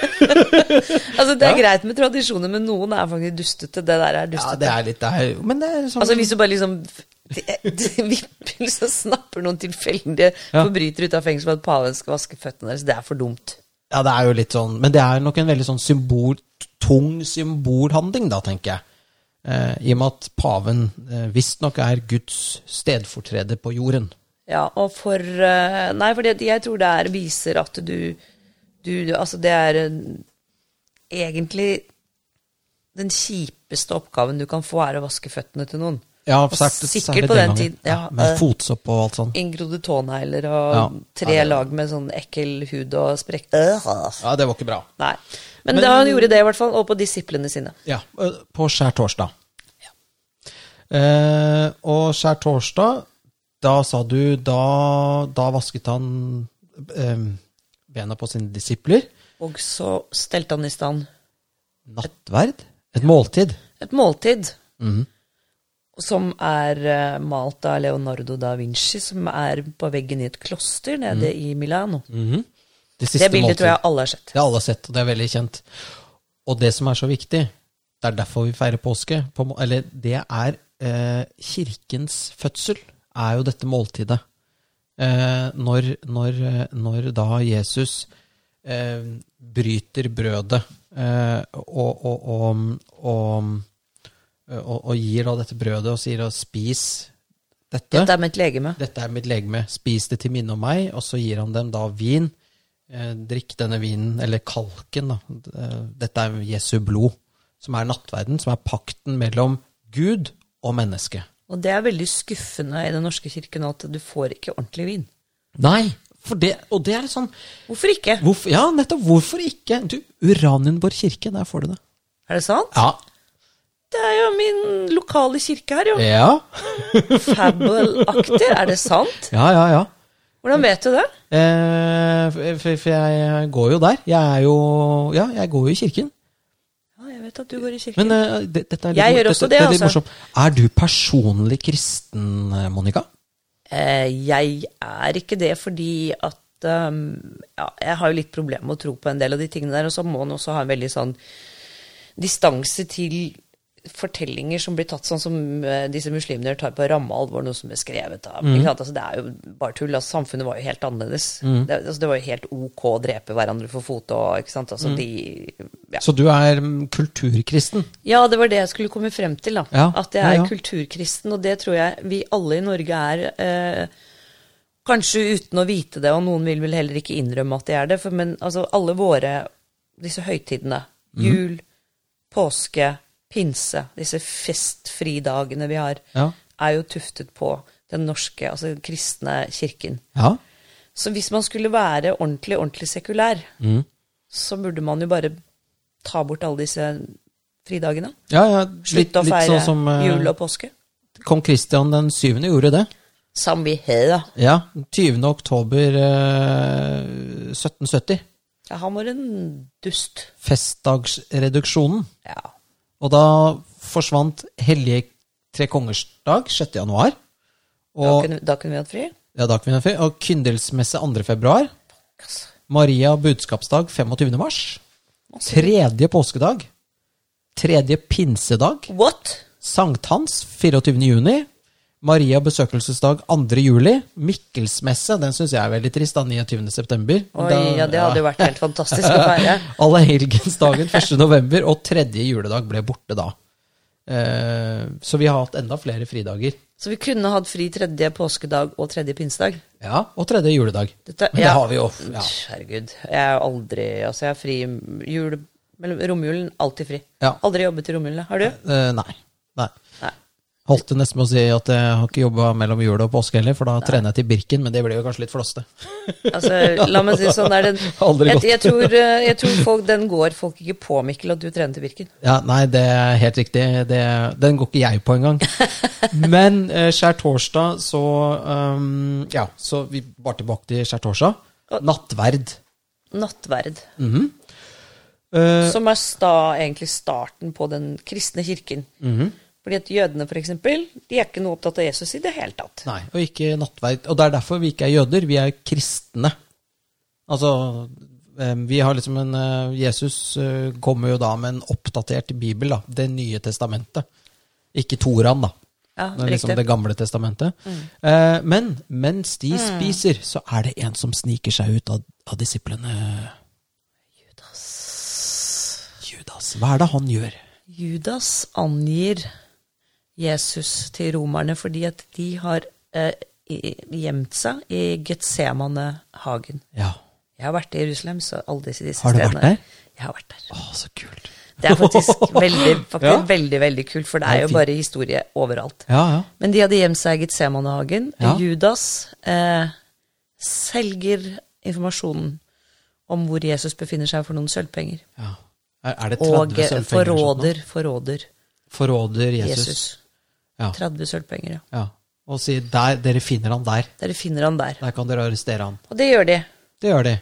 Altså, det er greit med tradisjoner, men noen er faktisk dustete. Det der er
Ja,
dustete.
det er litt det er, Men det er sånn
Altså Hvis du bare liksom [LAUGHS] vipper, så snapper noen tilfeldige
Ja.
forbrytere ut av fengsel for at paven skal vaske føttene deres. Det er for dumt.
Ja, det er jo litt sånn Men det er nok en veldig sånn symbol, tung symbolhandling, da, tenker jeg. Eh, I og med at paven eh, visstnok er Guds stedfortreder på jorden.
Ja, og for eh, Nei, for jeg tror det er viser at du, du du- Altså, det er eh, egentlig den kjipeste oppgaven du kan få, er å vaske føttene til noen.
Ja,
Og sikkert på den tiden. Ja,
med
eh,
fotsopp og alt sånn.
inngrodde tånegler og
Ja.
tre
Ja, det-
lag med sånn ekkel hud og sprekk Øh.
Ja, det var ikke bra.
Nei. Men, da han gjorde det, i hvert fall. Og på disiplene sine.
Ja, ø, på skjær torsdag. Eh, og skjær torsdag, da sa du Da, da vasket han eh, bena på sine disipler.
Og så stelte han i stand
Nattverd? Et måltid?
et måltid. Som er eh, malt av Leonardo da Vinci, som er på veggen i et kloster nede i Milano.
Det
Det bildet tror jeg alle har sett.
Det har alle sett, og det er veldig kjent. Og det som er så viktig, det er derfor vi feirer påske, på, må- eller det er eh, kirkens fødsel, er jo dette måltidet. Eh, når, når, eh, når da Jesus eh, bryter brødet eh, og, og, og, og, og, og gir da dette brødet og sier 'spis dette'.
Dette er med et legeme.
Dette er mitt legeme, spis det til minne om meg, og så gir han dem da vin. Eh, drikk denne vinen, eller kalken, da. Eh, Dette er Jesu blod, som er nattverden, som er pakten mellom Gud og menneske.
Og det er veldig skuffende i Den norske kirke nå at du får ikke ordentlig vin.
Nei, for det, og det er litt sånn
Hvorfor ikke?
hvorfor, Ja, nettopp, hvorfor ikke? Du, Uranienborg kirke, der får du det.
Er det sant?
Ja.
Det er jo min lokale kirke her, [LAUGHS] jo.
Ja,
Fabel-aktig. Er det sant?
ja, ja. ja.
Hvordan vet du det?
Eh, for, for- for jeg går jo der. Jeg er jo Ja, jeg går jo i kirken.
Ja, jeg vet at du går i kirken.
Men eh, det, dette er litt,
Jeg
mor-
gjør også
dette,
det,
dette er litt
altså.
morsomt. Er du personlig kristen, eh, Monica?
Eh, jeg er ikke det fordi at ehm, ja, Jeg har jo litt problemer med å tro på en del av de tingene der, og så må en også ha en veldig sånn distanse til fortellinger som blir tatt sånn som eh, disse muslimene tar på ramme alvor, noe som er skrevet av ikke sant? altså, Det er jo bare tull. Altså, samfunnet var jo helt annerledes. Det, altså, det var jo helt ok å drepe hverandre for fote og ikke sant? Altså, de, ja.
Så du er mm, kulturkristen?
Ja, det var det jeg skulle komme frem til. da.
Ja,
At jeg
ja,
er
ja.
kulturkristen, og det tror jeg vi alle i Norge er. Eh, kanskje uten å vite det, og noen vil vel heller ikke innrømme at de er det. For, men altså, alle våre disse høytidene,
Mhm.
jul, påske, pinse, disse festfridagene vi har,
Ja.
er jo tuftet på den norske, altså den kristne kirken.
Ja.
Så hvis man skulle være ordentlig, ordentlig sekulær,
Mhm.
så burde man jo bare ta bort alle disse fridagene.
ja, ja litt,
Slutte å
litt
feire
sånn som eh,
jul og påske.
kong Kristian den 7. gjorde det.
Samvittighet, da.
Ja, 20. oktober eh, 1770.
Ja, han var en dust.
Festdagsreduksjonen.
Ja.
Og da forsvant hellige tre kongers dag, 6. januar.
Da,
Og,
kunne, da kunne vi hatt fri.
ja, da kunne vi ha fri. og kyndelsmesse 2. februar.
Altså,
Maria budskapsdag 25. mars. Tredje påskedag. Tredje pinsedag.
What?
Sankthans 24. juni. Maria besøkelsesdag 2. juli. Mikkelsmesse, den syns jeg er veldig trist, da. 29. september.
Oi,
Da-
ja, det hadde jo vært helt
[LAUGHS]
fantastisk å feire. [LAUGHS]
Allehelgensdagen 1. november og tredje juledag ble borte da. Eh, Så vi har hatt enda flere fridager.
Så vi kunne hatt fri tredje påskedag og tredje pinsedag.
Ja, Og tredje juledag.
Dette-
Men
ja.
det har vi jo. Ja.
Herregud. Jeg er aldri Altså, jeg har fri jul mellom romjulen. Alltid fri.
Ja.
Aldri jobbet i romjulen. Har du?
Eh, nei. nei.
Nei.
Holdt det nesten med å si at jeg har ikke jobba mellom jul og påske heller, for da trener jeg til Birken, men det blir jo kanskje litt flåste.
Altså, la meg si det sånn. Det er den,
[LAUGHS] Aldri
jeg,
gått.
jeg tror, eh, jeg tror folk, den går folk ikke på, Mikkel, at du trener til Birken.
Ja, nei, det er helt riktig. Det, den går ikke jeg på engang. Men eh, skjærtorsdag, så um, Ja, så vi bare tilbake til skjærtorsdag. Nattverd.
Nattverd.
Eh,
Som er sta, egentlig starten på den kristne kirken.
Mhm.
Fordi at jødene, for eksempel, de er ikke noe opptatt av Jesus i det hele tatt.
nei, og ikke nattverd. Og det er derfor vi ikke er jøder, vi er kristne. Altså eh, vi har liksom en eh, Jesus eh, kommer jo da med en oppdatert bibel, da. Det nye testamentet. Ikke Toran, da.
Ja,
det er liksom
riktig. Mm.
Det gamle testamentet. Eh, men mens de spiser, så er det en som sniker seg ut av, av disiplene. Judas. Judas. Hva er det han gjør?
Judas angir Jesus til romerne fordi at de har eh, i- gjemt seg i Getsemanehagen.
Ja.
Jeg har vært i Jerusalem, så alle disse, disse
Har du vært
stedene.
der?
Jeg har vært der.
Å, så kult.
Det er faktisk
[LAUGHS]
veldig, faktisk
Ja.
veldig, veldig kult, for det
Ja,
er jo
fint.
bare historie overalt.
Ja, ja.
Men de hadde gjemt seg i Getsemanehagen.
Ja.
Judas eh, selger informasjonen om hvor Jesus befinner seg for noen sølvpenger.
ja. Er, er det 30
Og eh,
sølvpenger? eller sånt nå?
forråder, forråder
Forråder Jesus.
Jesus.
Ja.
30 sølvpenger, ja.
Ja. Og sier der, dere finner han der.
Dere finner han der.
Der kan dere arrestere han.
Og det gjør de.
Det gjør de.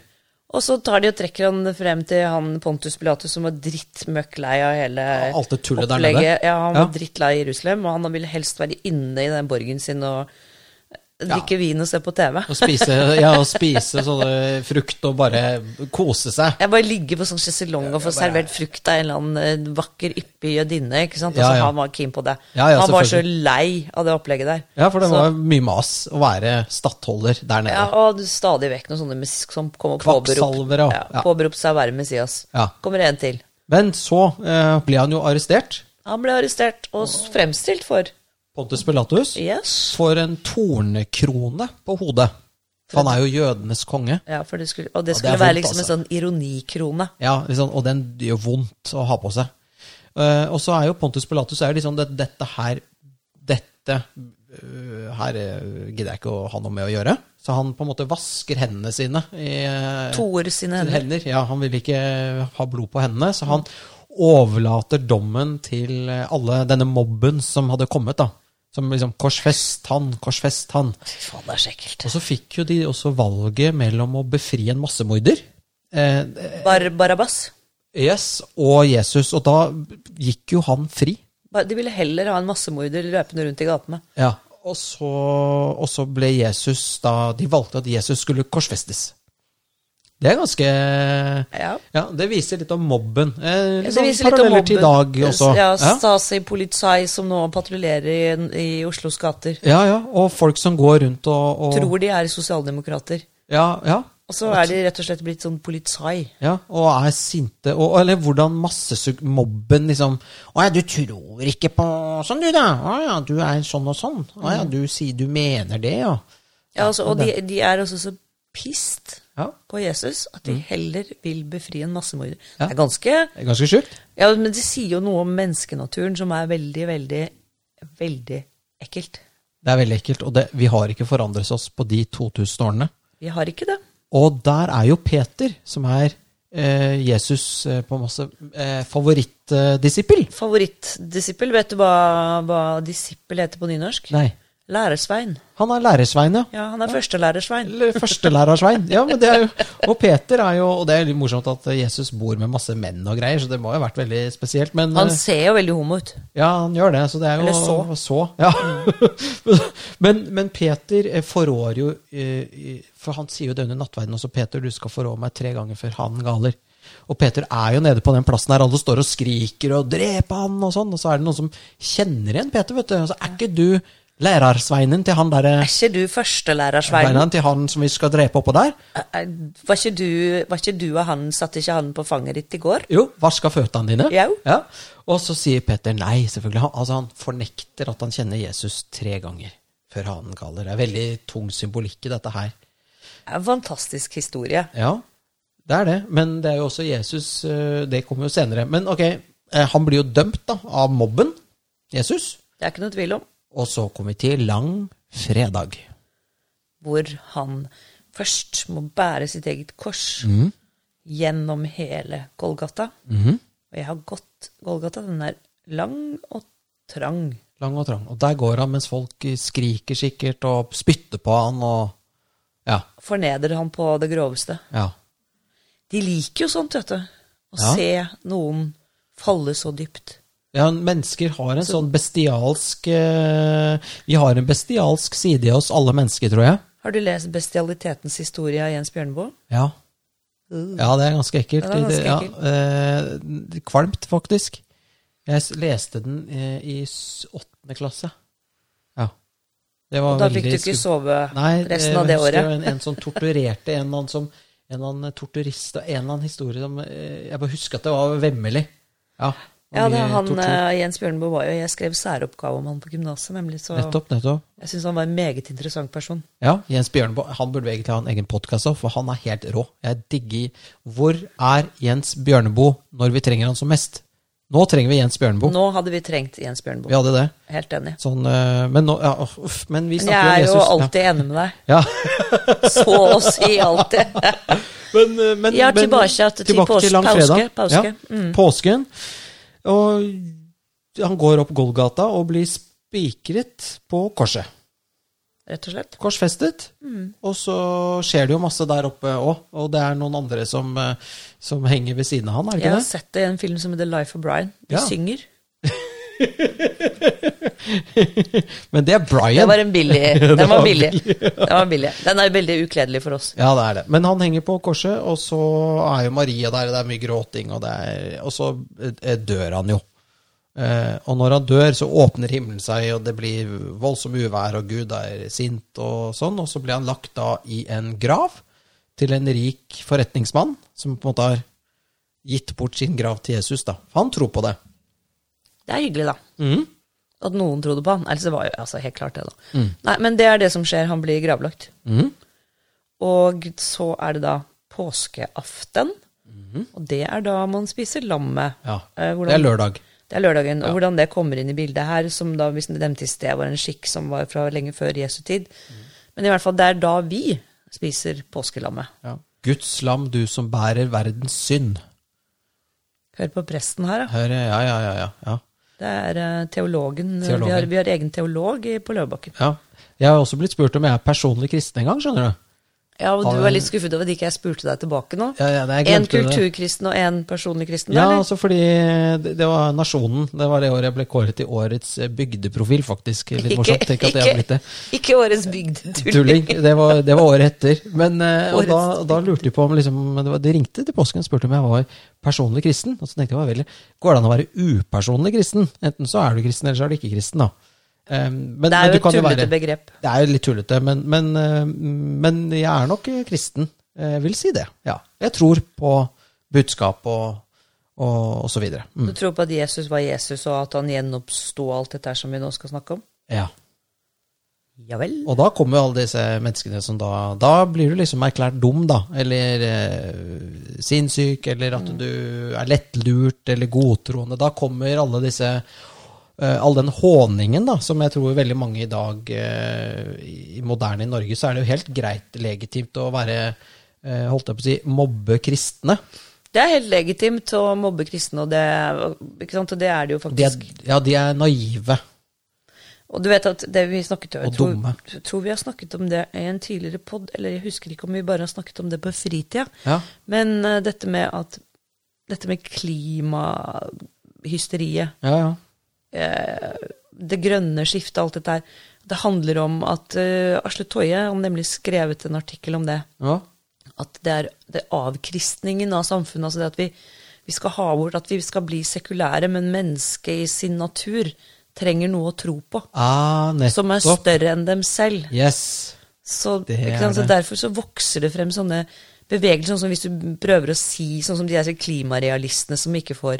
Og så tar de og trekker han frem til han Pontus Pilatus som var drittmøkk lei av hele
Alt det tullet der nede.
Ja, han var
Ja.
drittlei i Jerusalem, og han ville helst være inne i den borgen sin og drikke vin og se på TV.
Å spise, ja, å spise sånne frukt og bare kose seg.
Jeg bare ligger på sånn sjeselong og får servert frukt av en eller annen eh, vakker, yppig jødinne. ikke sant? Og
Ja,
så
ja.
han var keen på det.
Ja, ja,
han var så lei av det opplegget der.
Ja, for det
Så-
var mye mas å være stattholder der nede.
ja, Og stadig vekk noen sånne mes- som kom og påberopte
Kvakksalvere og- ja.
påberop seg å være Messias.
Ja.
Kommer en til.
Men så eh, ble han jo arrestert.
Han ble arrestert og s- fremstilt for
Pontus Pilatus.
Yes.
For en tornekrone på hodet. For han er jo jødenes konge.
Ja, for det skulle, og det
det
skulle
er
være
vondt,
liksom en sånn ironikrone.
Ja, liksom, Og den gjør vondt å ha på seg. Eh, og så er jo Pontus Pilatus er jo liksom det, dette her Dette øh, her øh, gidder jeg ikke å ha noe med å gjøre. Så han på en måte vasker hendene sine i eh,
Toer
sine
sine hender.
hender. Ja, han vil ikke ha blod på hendene, så han overlater dommen til alle denne mobben som hadde kommet, da. Som liksom Korsfest han, korsfest han.
Fy faen, det er så ekkelt.
Og så fikk jo de også valget mellom å befri en massemorder eh,
Bar Barabbas.
yes, og Jesus, og da gikk jo han fri.
Bar de ville heller ha en massemorder løpende rundt i gatene.
Ja. Og så, og så ble Jesus da De valgte at Jesus skulle korsfestes. Det er ganske
Ja.
Det viser litt om mobben. Eh, litt
Det
sånn
viser litt om
paralleller til i dag
mobben.
også.
Ja,
Ja.
Stasi Polizei som nå patruljerer i, i Oslos gater.
Ja, ja, og folk som går rundt og, og
Tror de er sosialdemokrater.
Ja, ja,
Og så er de rett og slett blitt sånn polizei.
ja, og er sinte. Og, eller hvordan massesug... Mobben liksom 'Å ja, du tror ikke på sånn, du, da. Å ja, du er sånn og sånn. Å
Mm.
ja, du sier du mener det, ja.
Ja, altså, og de, de er også så pissed
Ja. Mm.
på Jesus at de heller vil befri en massemorder. Det er ganske
Det er ganske sjukt.
Ja, men det sier jo noe om menneskenaturen som er veldig, veldig, veldig ekkelt.
Det er veldig ekkelt. Og det, vi har ikke forandret oss på de 2000 årene.
Vi har ikke det.
Og der er jo Peter, som er eh, Jesus eh, på masse eh, favorittdisippel.
Favorittdisippel, vet du hva, hva disippel heter på nynorsk?
Nei.
Lærersvein.
Han er lærersvein, ja.
Ja, han er førstelærersvein.
Eller Førstelærersvein. Ja, men det er jo, og Peter er jo Og det er litt morsomt at Jesus bor med masse menn og greier, så det må jo ha vært veldig spesielt. Men
Han
eh,
ser jo veldig homo ut.
ja, han gjør det, så det er jo
Eller så.
ja. [LAUGHS] men, men Peter eh, forrår jo eh, i- For han sier jo det under nattverden også, Peter, du skal forrå meg tre ganger før han galer. Og Peter er jo nede på den plassen der alle står og skriker og 'drep han' og sånn, og så er det noen som kjenner igjen Peter, vet du. Og så er ikke du lærersveinen til han derre
Er ikke du førstelærersvein?
Sveinen til han som vi skal drepe oppå der?
Eh, Var ikke du, var ikke du og han, satt ikke han på fanget ditt i går?
Jo, vaska føttene dine.
Jau.
Ja. Og så sier Peter nei, selvfølgelig. Han, altså, han fornekter at han kjenner Jesus tre ganger. Før hanen kaller. Det er veldig tung symbolikk i dette her.
Det er en fantastisk historie.
Ja, det er det. Men det er jo også Jesus eh, Det kommer jo senere. Men ok, eh, han blir jo dømt da, av mobben, Jesus.
Det er ikke noe tvil om.
Og så kommer vi til langfredag.
Hvor han først må bære sitt eget kors gjennom hele Golgata. Og jeg har gått Golgata. Den er lang og trang.
Lang og trang. Og der går han mens folk skriker sikkert og spytter på han og Ja.
Forneder han på det groveste.
ja.
De liker jo sånt, vet du. Å
Ja.
se noen falle så dypt.
Ja, mennesker har en sånn bestialsk eh, Vi har en bestialsk side i oss, alle mennesker, tror jeg.
Har du lest Bestialitetens historie av Jens Bjørneboe?
Ja. ja, det er ganske ekkelt.
Uh. Ja, det er ganske
ja, eh, kvalmt, faktisk. Jeg s- leste den eh, i s- åttende klasse. Ja. Det var
Og da fikk
veldig
du ikke
skummelt.
sove
Nei,
resten av det
jeg husker
året.
En, en som torturerte en eller annen som En eller annen torturist og en eller annen historie som eh, Jeg bare husker at det var vemmelig. Ja,
Ja, det,
mye
han,
tortur.
eh, Jens Bjørneboe var jo Jeg skrev særoppgave om han på gymnaset, nemlig. Så
Nettopp, nettopp.
jeg syns han var en meget interessant person.
Ja, Jens Bjørneboe han burde egentlig ha en egen podkast òg, for han er helt rå. Jeg digger Hvor er Jens Bjørneboe når vi trenger han som mest? Nå trenger vi Jens Bjørneboe.
Nå hadde vi trengt Jens Bjørneboe.
Vi hadde det.
Helt enig.
Sånn, eh, men nå ja, uff, Men vi
Men jeg
snakker
er jo
om Jesus.
alltid enig med deg.
Ja. Ja.
Så å si alltid.
[LAUGHS]
[LAUGHS]
Men, eh, men,
Ja,
men-
tilbake til pås- påske, påske. Mm.
Ja, Påsken. Og han går opp Golgata og blir spikret på korset.
Rett og slett.
Korsfestet.
Mm.
Og så skjer det jo masse der oppe òg, og det er noen andre som, eh, som henger ved siden av han, er det
Jeg
ikke
har sett det i en film som heter Life of Brian. De
Ja.
synger.
det? Men det er Brian.
Det var en
[LAUGHS]
billig. Den
var
var billig. Den, var billig. Den er veldig ukledelig for oss.
Ja, det er det. Men han henger på korset, og så er jo Maria der, og det er mye gråting, og, det er, og så eh, dør han jo. Eh, og når han dør, så åpner himmelen seg, og det blir voldsom uvær, og Gud er sint og sånn, og så blir han lagt da i en grav til en rik forretningsmann, som på en måte har gitt bort sin grav til Jesus, da. For han tror på det.
Det er hyggelig, da.
Mm.
At noen trodde på han. Ellers det var jo altså, helt klart det, da.
Mm.
Nei, men det er det som skjer. Han blir gravlagt. Og så er det da påskeaften. Og det er da man spiser lammet.
Mm. Ja,
Eh, hvordan-
Det er lørdag.
Det er lørdagen. Og hvordan det kommer inn i bildet her, som da vi nevnte i sted, var en skikk som var fra lenge før Jesu tid.
Mm.
Men i hvert fall, det er da vi spiser påskelammet.
Ja. Guds lam, du som bærer verdens synd.
Hør på presten her, da.
Hører, ja, ja, ja, ja, ja.
Det er eh, teologen.
Teologen.
Vi, har, vi har egen teolog i- på Løvebakken.
Ja. Jeg har også blitt spurt om jeg er personlig kristen en gang, skjønner du.
Ja, og
Har
du
vi-
er litt skuffet over at ikke jeg spurte deg tilbake nå.
Ja, ja, nei, jeg
en
glemte det.
kulturkristen og en personlig kristen,
Ja,
eller?
altså fordi det, det var Nasjonen. Det var det året jeg ble kåret til årets eh, bygdeprofil, faktisk. Litt morsomt. Tenk at jeg har blitt det.
ikke årets bygdetulling.
Tulling. [LAUGHS] Det var, det var året etter. Men eh, og
Årets
da, da lurte de på om liksom, det var, De ringte til påsken og spurte om jeg var personlig kristen. Og så tenkte jeg hva vel, går det an å være upersonlig kristen? Enten så er du kristen, eller så er du ikke kristen. da. Eh, men,
Det
men
er
du
jo et
kan
tullete
være-
begrep.
Det er jo litt tullete, men, men, eh, men jeg er nok eh, kristen. Jeg vil si det, ja. Jeg tror på budskap og, og, og så videre. Mm.
Du tror på at Jesus var Jesus, og at han gjenoppsto alt dette her som vi nå skal snakke om?
Ja.
Ja vel.
Og da kommer jo alle disse menneskene som da Da blir du liksom erklært dum, da. Eller eh, sinnssyk, eller
Mm.
at du er lettlurt, eller godtroende. Da kommer alle disse eh, All den håningen, da, som jeg tror veldig mange i dag eh, i moderne i Norge, så er det jo helt greit legitimt å være eh, Holdt jeg på å si mobbe kristne.
Det er helt legitimt å mobbe kristne, og det, ikke sant? Og det er det jo
De er,
faktisk.
ja, de er naive.
Og du vet at det vi snakket om,
Og
jeg tror,
dumme.
jeg tror vi har snakket om det i en tidligere pod, eller jeg husker ikke om vi bare har snakket om det på fritida,
Ja.
men eh, dette med at dette med klimahysteriet, eh,
Ja, ja.
det grønne skiftet, alt dette her, det handler om at eh, Asle Toje har nemlig skrevet en artikkel om det.
ja.
At det er det er avkristningen av samfunnet, altså det at vi, vi skal ha bort at vi skal bli sekulære, men mennesket i sin natur trenger noe å tro på.
Ah,
Som er
nettopp.
større enn dem selv.
Yes.
Så,
Det
ikke sant?
er
så
det.
derfor så vokser det frem sånne bevegelser, sånn som hvis du prøver å si, sånn som de der klimarealistene som ikke får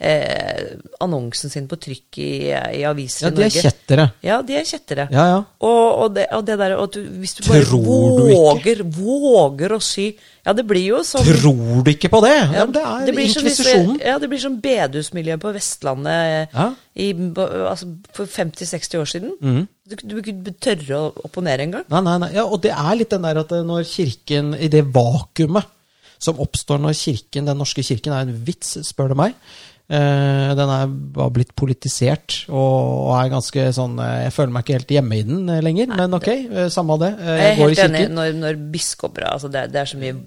eh, annonsen sin på trykk i, i aviser
Ja,
i
de
Norge.
er kjettere.
Ja, de er kjettere.
Ja, ja.
Og, og, det, og det der og at du, Hvis du bare
Tror du
våger, våger å sy Ja, det blir jo som
Tror du ikke på det? Ja,
ja,
men det er
blir som disse-
inkvisisjonen.
Ja, det blir som bedehusmiljøet på Vestlandet
Ja. Mm.
i, altså, for 50-60 år siden. Du, du kunne ikke tørre å opponere engang.
Nei, nei, nei. Ja, og det er litt den der at eh, når kirken, i det vakuumet som oppstår når kirken, den norske kirken, er en vits, spør du meg. Eh, den er bare blitt politisert og, og er ganske sånn eh, Jeg føler meg ikke helt hjemme i den eh, lenger, men ok, eh, samme av det. Eh,
Jeg er
går i
helt enig
kirken.
når, når biskoper altså det, er- det er så mye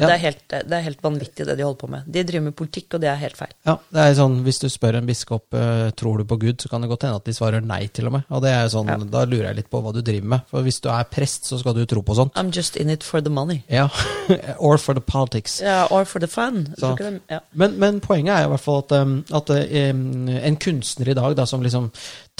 Ja.
det, er helt, det er helt vanvittig, det de holder på med. De driver med politikk, og det er helt feil.
Ja, det er sånn, Hvis du spør en biskop eh, tror du på Gud, så kan det godt hende at de svarer nei, til og med. Og det er jo sånn,
Ja.
Da lurer jeg litt på hva du driver med. For hvis du er prest, så skal du tro på sånn. sånt.
I'm just in it for the money.
Ja, [LAUGHS] Or for the politics.
Ja, or for the fun. Jeg
Så-
tror ikke det- Ja.
Men, men poenget er i hvert fall at, um, at um, en kunstner i dag da, som liksom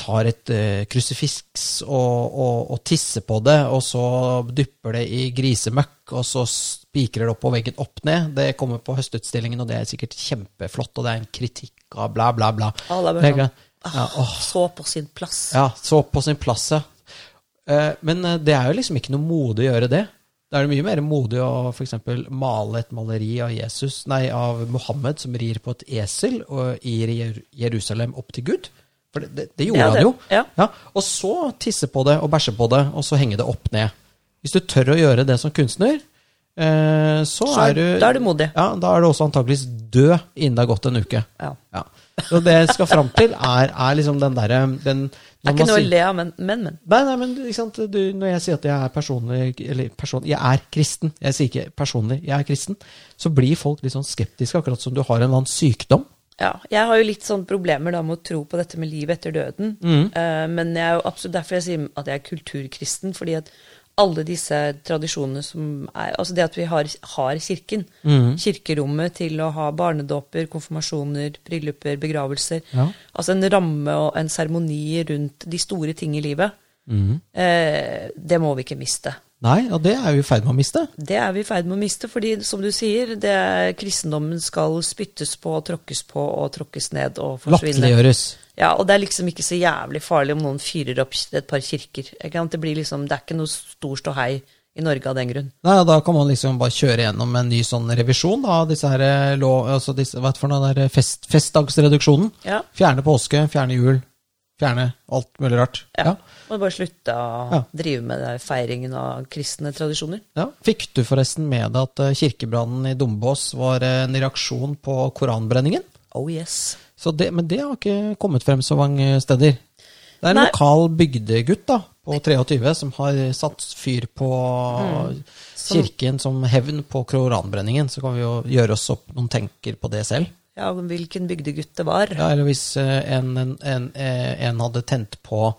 tar et uh, krusifiks og, og, og tisser på det, og så dypper det i grisemøkk, og så spikrer det opp på veggen opp ned, det kommer på høstutstillingen, og det er sikkert kjempeflott, og det er en kritikk av bla, bla, bla.
Alle
Det
er
er
bare sånn,
ikke- ja, åh,
Så på sin plass.
ja, så på sin plass, ja. Eh, Men eh, det er jo liksom ikke noe modig å gjøre det. Da er det mye mer modig å f.eks. male et maleri av Jesus, nei, av Mohammed som rir på et esel og i Jer- Jerusalem opp til Gud. For det, det, det gjorde
Ja, det-
han jo.
ja.
Og så tisse på det og bæsje på det, og så henge det opp ned. Hvis du tør å gjøre det som kunstner, eh, så,
Så
er
er-
du
da er du modig.
Ja, da er du også antakeligvis død innen det har gått en uke.
Ja.
Ja. Så det jeg skal fram til, er, er liksom den derre den-
Det
når
er
man
ikke noe å
sier-
le av, men, men. men.
Nei, nei, men ikke sant? Du, når jeg sier at jeg er personlig, eller person, jeg er kristen, jeg sier ikke personlig, jeg er kristen, så blir folk litt sånn skeptiske, akkurat som du har en eller annen sykdom.
Ja, jeg har jo litt sånn problemer da med å tro på dette med livet etter døden. Eh, men jeg er jo absolutt derfor jeg sier at jeg er kulturkristen, fordi at alle disse tradisjonene som er Altså det at vi har, har kirken. Kirkerommet til å ha barnedåper, konfirmasjoner, brylluper, begravelser.
Ja.
Altså en ramme og en seremoni rundt de store ting i livet. Eh, det må vi ikke miste.
Nei, og det er vi i ferd med å miste.
Det er vi i ferd med å miste, fordi som du sier, det er, kristendommen skal spyttes på, tråkkes på og tråkkes ned og forsvinne.
Latterliggjøres.
Ja, og det er liksom ikke så jævlig farlig om noen fyrer opp et par kirker. Ikke sant? Det, blir liksom, det er ikke noe stor ståhei i Norge av den grunn.
Nei, og da kan man liksom bare kjøre gjennom en ny sånn revisjon da, av disse her eh, lov... Altså disse, hva er det for noe der eh, fest, festdagsreduksjonen?
Ja.
Fjerne påske, fjerne jul, fjerne alt mulig rart.
Ja. Må bare slutte å
Ja.
drive med det, feiringen av kristne tradisjoner.
Ja. Fikk du forresten med deg at eh, kirkebrannen i Dombås var eh, en reaksjon på koranbrenningen?
Oh yes.
Så det, men det har ikke kommet frem så mange steder. Det er en
Nei.
lokal bygdegutt da, på 23 som har satt fyr på
Mm.
kirken som hevn på koranbrenningen. Så kan vi jo gjøre oss opp noen tenker på det selv.
Ja, hvilken bygdegutt det var.
Ja, eller hvis eh, en, en, en, eh, en hadde tent på,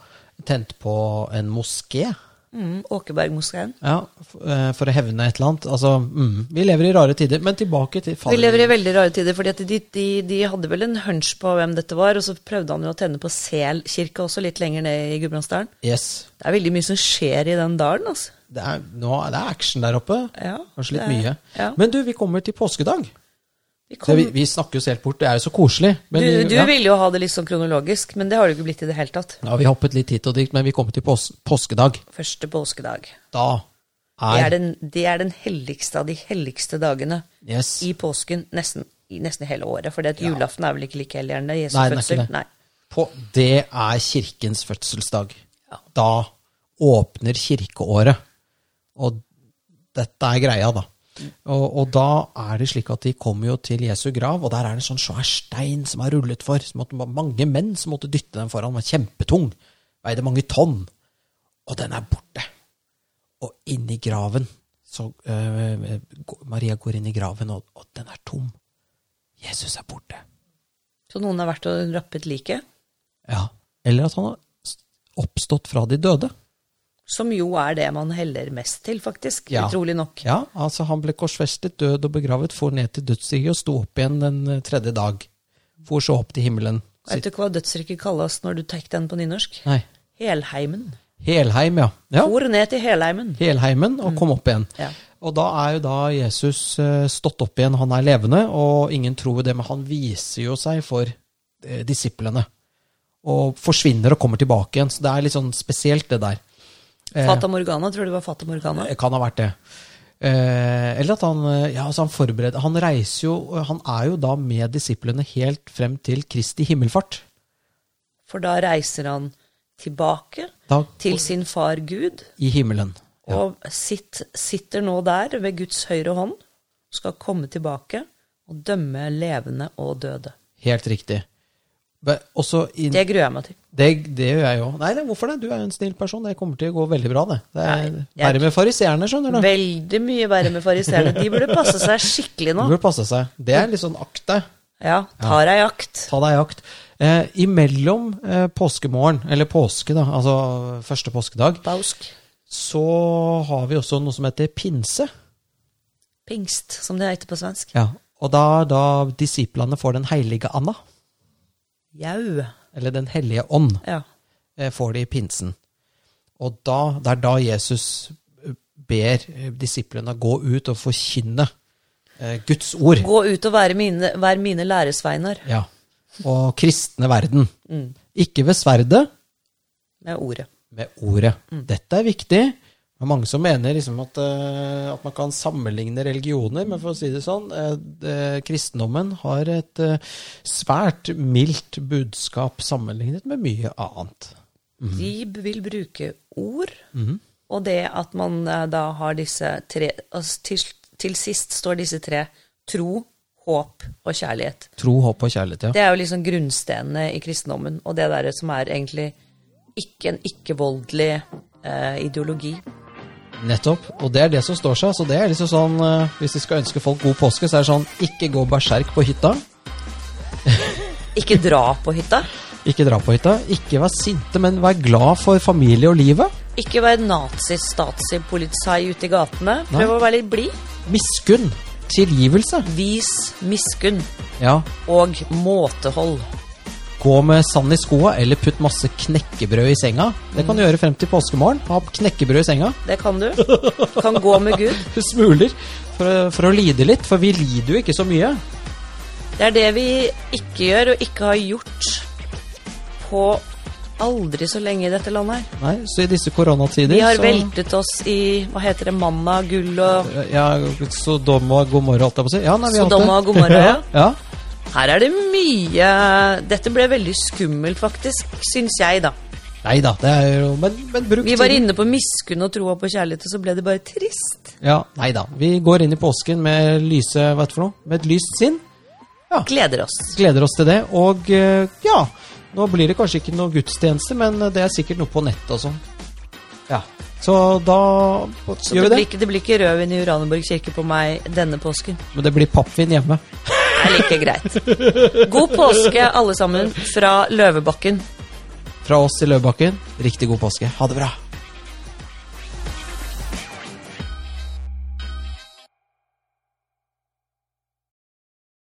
tent på en moské
Mm, Åkebergmoskeen.
ja, f- eh, for å hevne et eller annet. Altså, mm, vi lever i rare tider, men tilbake til
Vi lever i veldig rare tider, fordi at de, de, de hadde vel en hunch på hvem dette var, og så prøvde han jo å tenne på Sel kirke også, litt lenger ned i Gudbrandsdalen.
Yes.
Det er veldig mye som skjer i den dalen, altså.
Det er, nå, er det er action der oppe.
Ja,
Kanskje litt
det er-
mye.
ja.
Men du, vi kommer til påskedag.
Vi
Det,
kom,
vi, vi snakker oss helt bort, det er jo så koselig. Men,
du du
ja.
ville jo ha det litt sånn kronologisk, men det har det ikke blitt i det hele tatt.
ja, Vi hoppet litt hit og dit, men vi kommer til pås påskedag.
Første påskedag.
Da
Det er,
er,
den, det er den helligste av de helligste dagene
yes.
i påsken, nesten, i nesten hele året. For julaften er vel ikke like helliggjørende? Jesu
Nei, den er ikke
fødsel?
det.
Nei.
på, Det er kirkens fødselsdag. Da åpner kirkeåret. Og dette er greia, da. Og, og da er det slik at de kommer jo til Jesu grav, og der er det en sånn svær stein som er rullet for. Som måtte, mange menn som måtte dytte den foran. Den var kjempetung. Veide mange tonn. Og den er borte. Og inni graven så øh, gå- Maria går inn i graven, og, og den er tom. Jesus er borte.
Så noen har vært og rappet liket,
Ja. Eller at han har s- oppstått fra de døde.
som jo er det man heller mest til, faktisk.
Ja.
Utrolig nok.
Ja, altså Han ble korsfestet, død og begravet, for ned til dødsriket og sto opp igjen den eh, tredje dag. For så opp til himmelen.
Vet du ikke hva dødsrykket kalles når du tar den på nynorsk?
Nei.
Helheimen.
Helheim, ja. ja.
For ned til Helheimen.
Helheimen og kom opp igjen.
Ja.
Og da er jo da Jesus eh, stått opp igjen, han er levende, og ingen tror det, men han viser jo seg for eh, disiplene. Og forsvinner og kommer tilbake igjen. Så det er litt sånn spesielt, det der.
Fata Morgana, tror du det var Fata Morgana?
Det kan ha vært det. Eh, eller at han eh, ja, altså han forbereder Han reiser jo eh, Han er jo da med disiplene helt frem til Kristi himmelfart.
For da reiser han tilbake
Da,
til sin far Gud,
I himmelen.
og sitt, sitter nå der ved Guds høyre hånd, skal komme tilbake og dømme levende og døde.
Helt riktig. Be- Også inn, det,
Det gruer jeg meg til.
det, gjør jeg òg. Nei, nei, hvorfor det? Du er jo en snill person. Det kommer til å gå veldig bra, det. Det er
jeg-
verre med fariseerne, skjønner du.
Veldig mye verre med fariseerne. De burde passe seg skikkelig
Du
nå.
burde passe seg. Det er litt sånn akt deg.
Ja, tar ei akt.
Ta deg i akt. Eh, imellom eh, påskemorgen, eller påske, da, altså første påskedag,
Bausk.
så har vi også noe som heter pinse.
Pingst, som det heter på svensk.
Ja, og da, da disiplene får Den hellige Anna,
Jau.
eller Den hellige ånd,
Ja.
eh, får de i pinsen. Og da, det er da Jesus eh, ber eh, disiplene gå ut og forkynne eh, Guds ord.
Gå ut og være mine, vær mine læresveinar
Ja. Og kristne verden. Ikke ved sverdet,
med ordet.
med ordet. Dette er viktig. Det er mange som mener liksom at, eh, at man kan sammenligne religioner, men for å si det sånn, eh, det- kristendommen har et eh, svært mildt budskap sammenlignet med mye annet.
De b- vil bruke ord, og det at man eh, da har disse tre altså til, til sist står disse tre tro, håp og kjærlighet.
Tro, håp og kjærlighet, ja.
Det er jo liksom grunnstenene i kristendommen, og det der som er egentlig ikke en ikke-voldelig eh, ideologi.
Nettopp. Og det er det som står seg. Så det er liksom sånn, eh, hvis vi skal ønske folk god påske, så er det sånn, ikke gå berserk på hytta.
Ikke dra på hytta.
Ikke dra på hytta. Ikke vær sinte, men vær glad for familie og livet.
Ikke vær nazi-stazi-politi ute i gatene. Prøv å være litt blid.
Miskunn. Tilgivelse.
Vis miskunn
Ja,
og måtehold.
Gå med sand i skoa, eller putt masse knekkebrød i senga. Det kan du gjøre frem til påskemorgen. Ha knekkebrød i senga. [LAUGHS]
Det kan du. Kan gå med Gud.
Smuler. For, å- for å lide litt, for vi lider jo ikke så mye.
Det er det vi ikke gjør og ikke har gjort på aldri så lenge i dette landet her.
Nei, så i disse koronatider
Vi har
så,
veltet oss i hva heter det, manna, gull og
Ja, Sodoma og Gomorra, holdt jeg på å si. Ja, nei, vi har hatt det.
Sodoma
[LAUGHS]
og Gomorra, ja.
ja.
Her er det mye Dette ble veldig skummelt, faktisk, syns jeg, da.
Nei da, det er jo Men, men bruk
Vi var
tiden.
inne på miskunn og troa på kjærlighet, og så ble det bare trist.
Ja, nei da. Vi går inn i påsken med lyse, hva heter det for noe? Med et lyst sinn.
Gleder oss.
Gleder oss til det. Og eh, ja, nå blir det kanskje ikke noe gudstjeneste, men det er sikkert noe på nettet og sånn. Ja. Så da gjør
Så det,
vi det.
blir ikke, det blir ikke rødvin i Uranienborg kirke på meg denne påsken.
Men det blir pappvin hjemme.
Det er like greit. God påske, alle sammen, fra Løvebakken.
Fra oss i Løvebakken, riktig god påske. Ha det bra.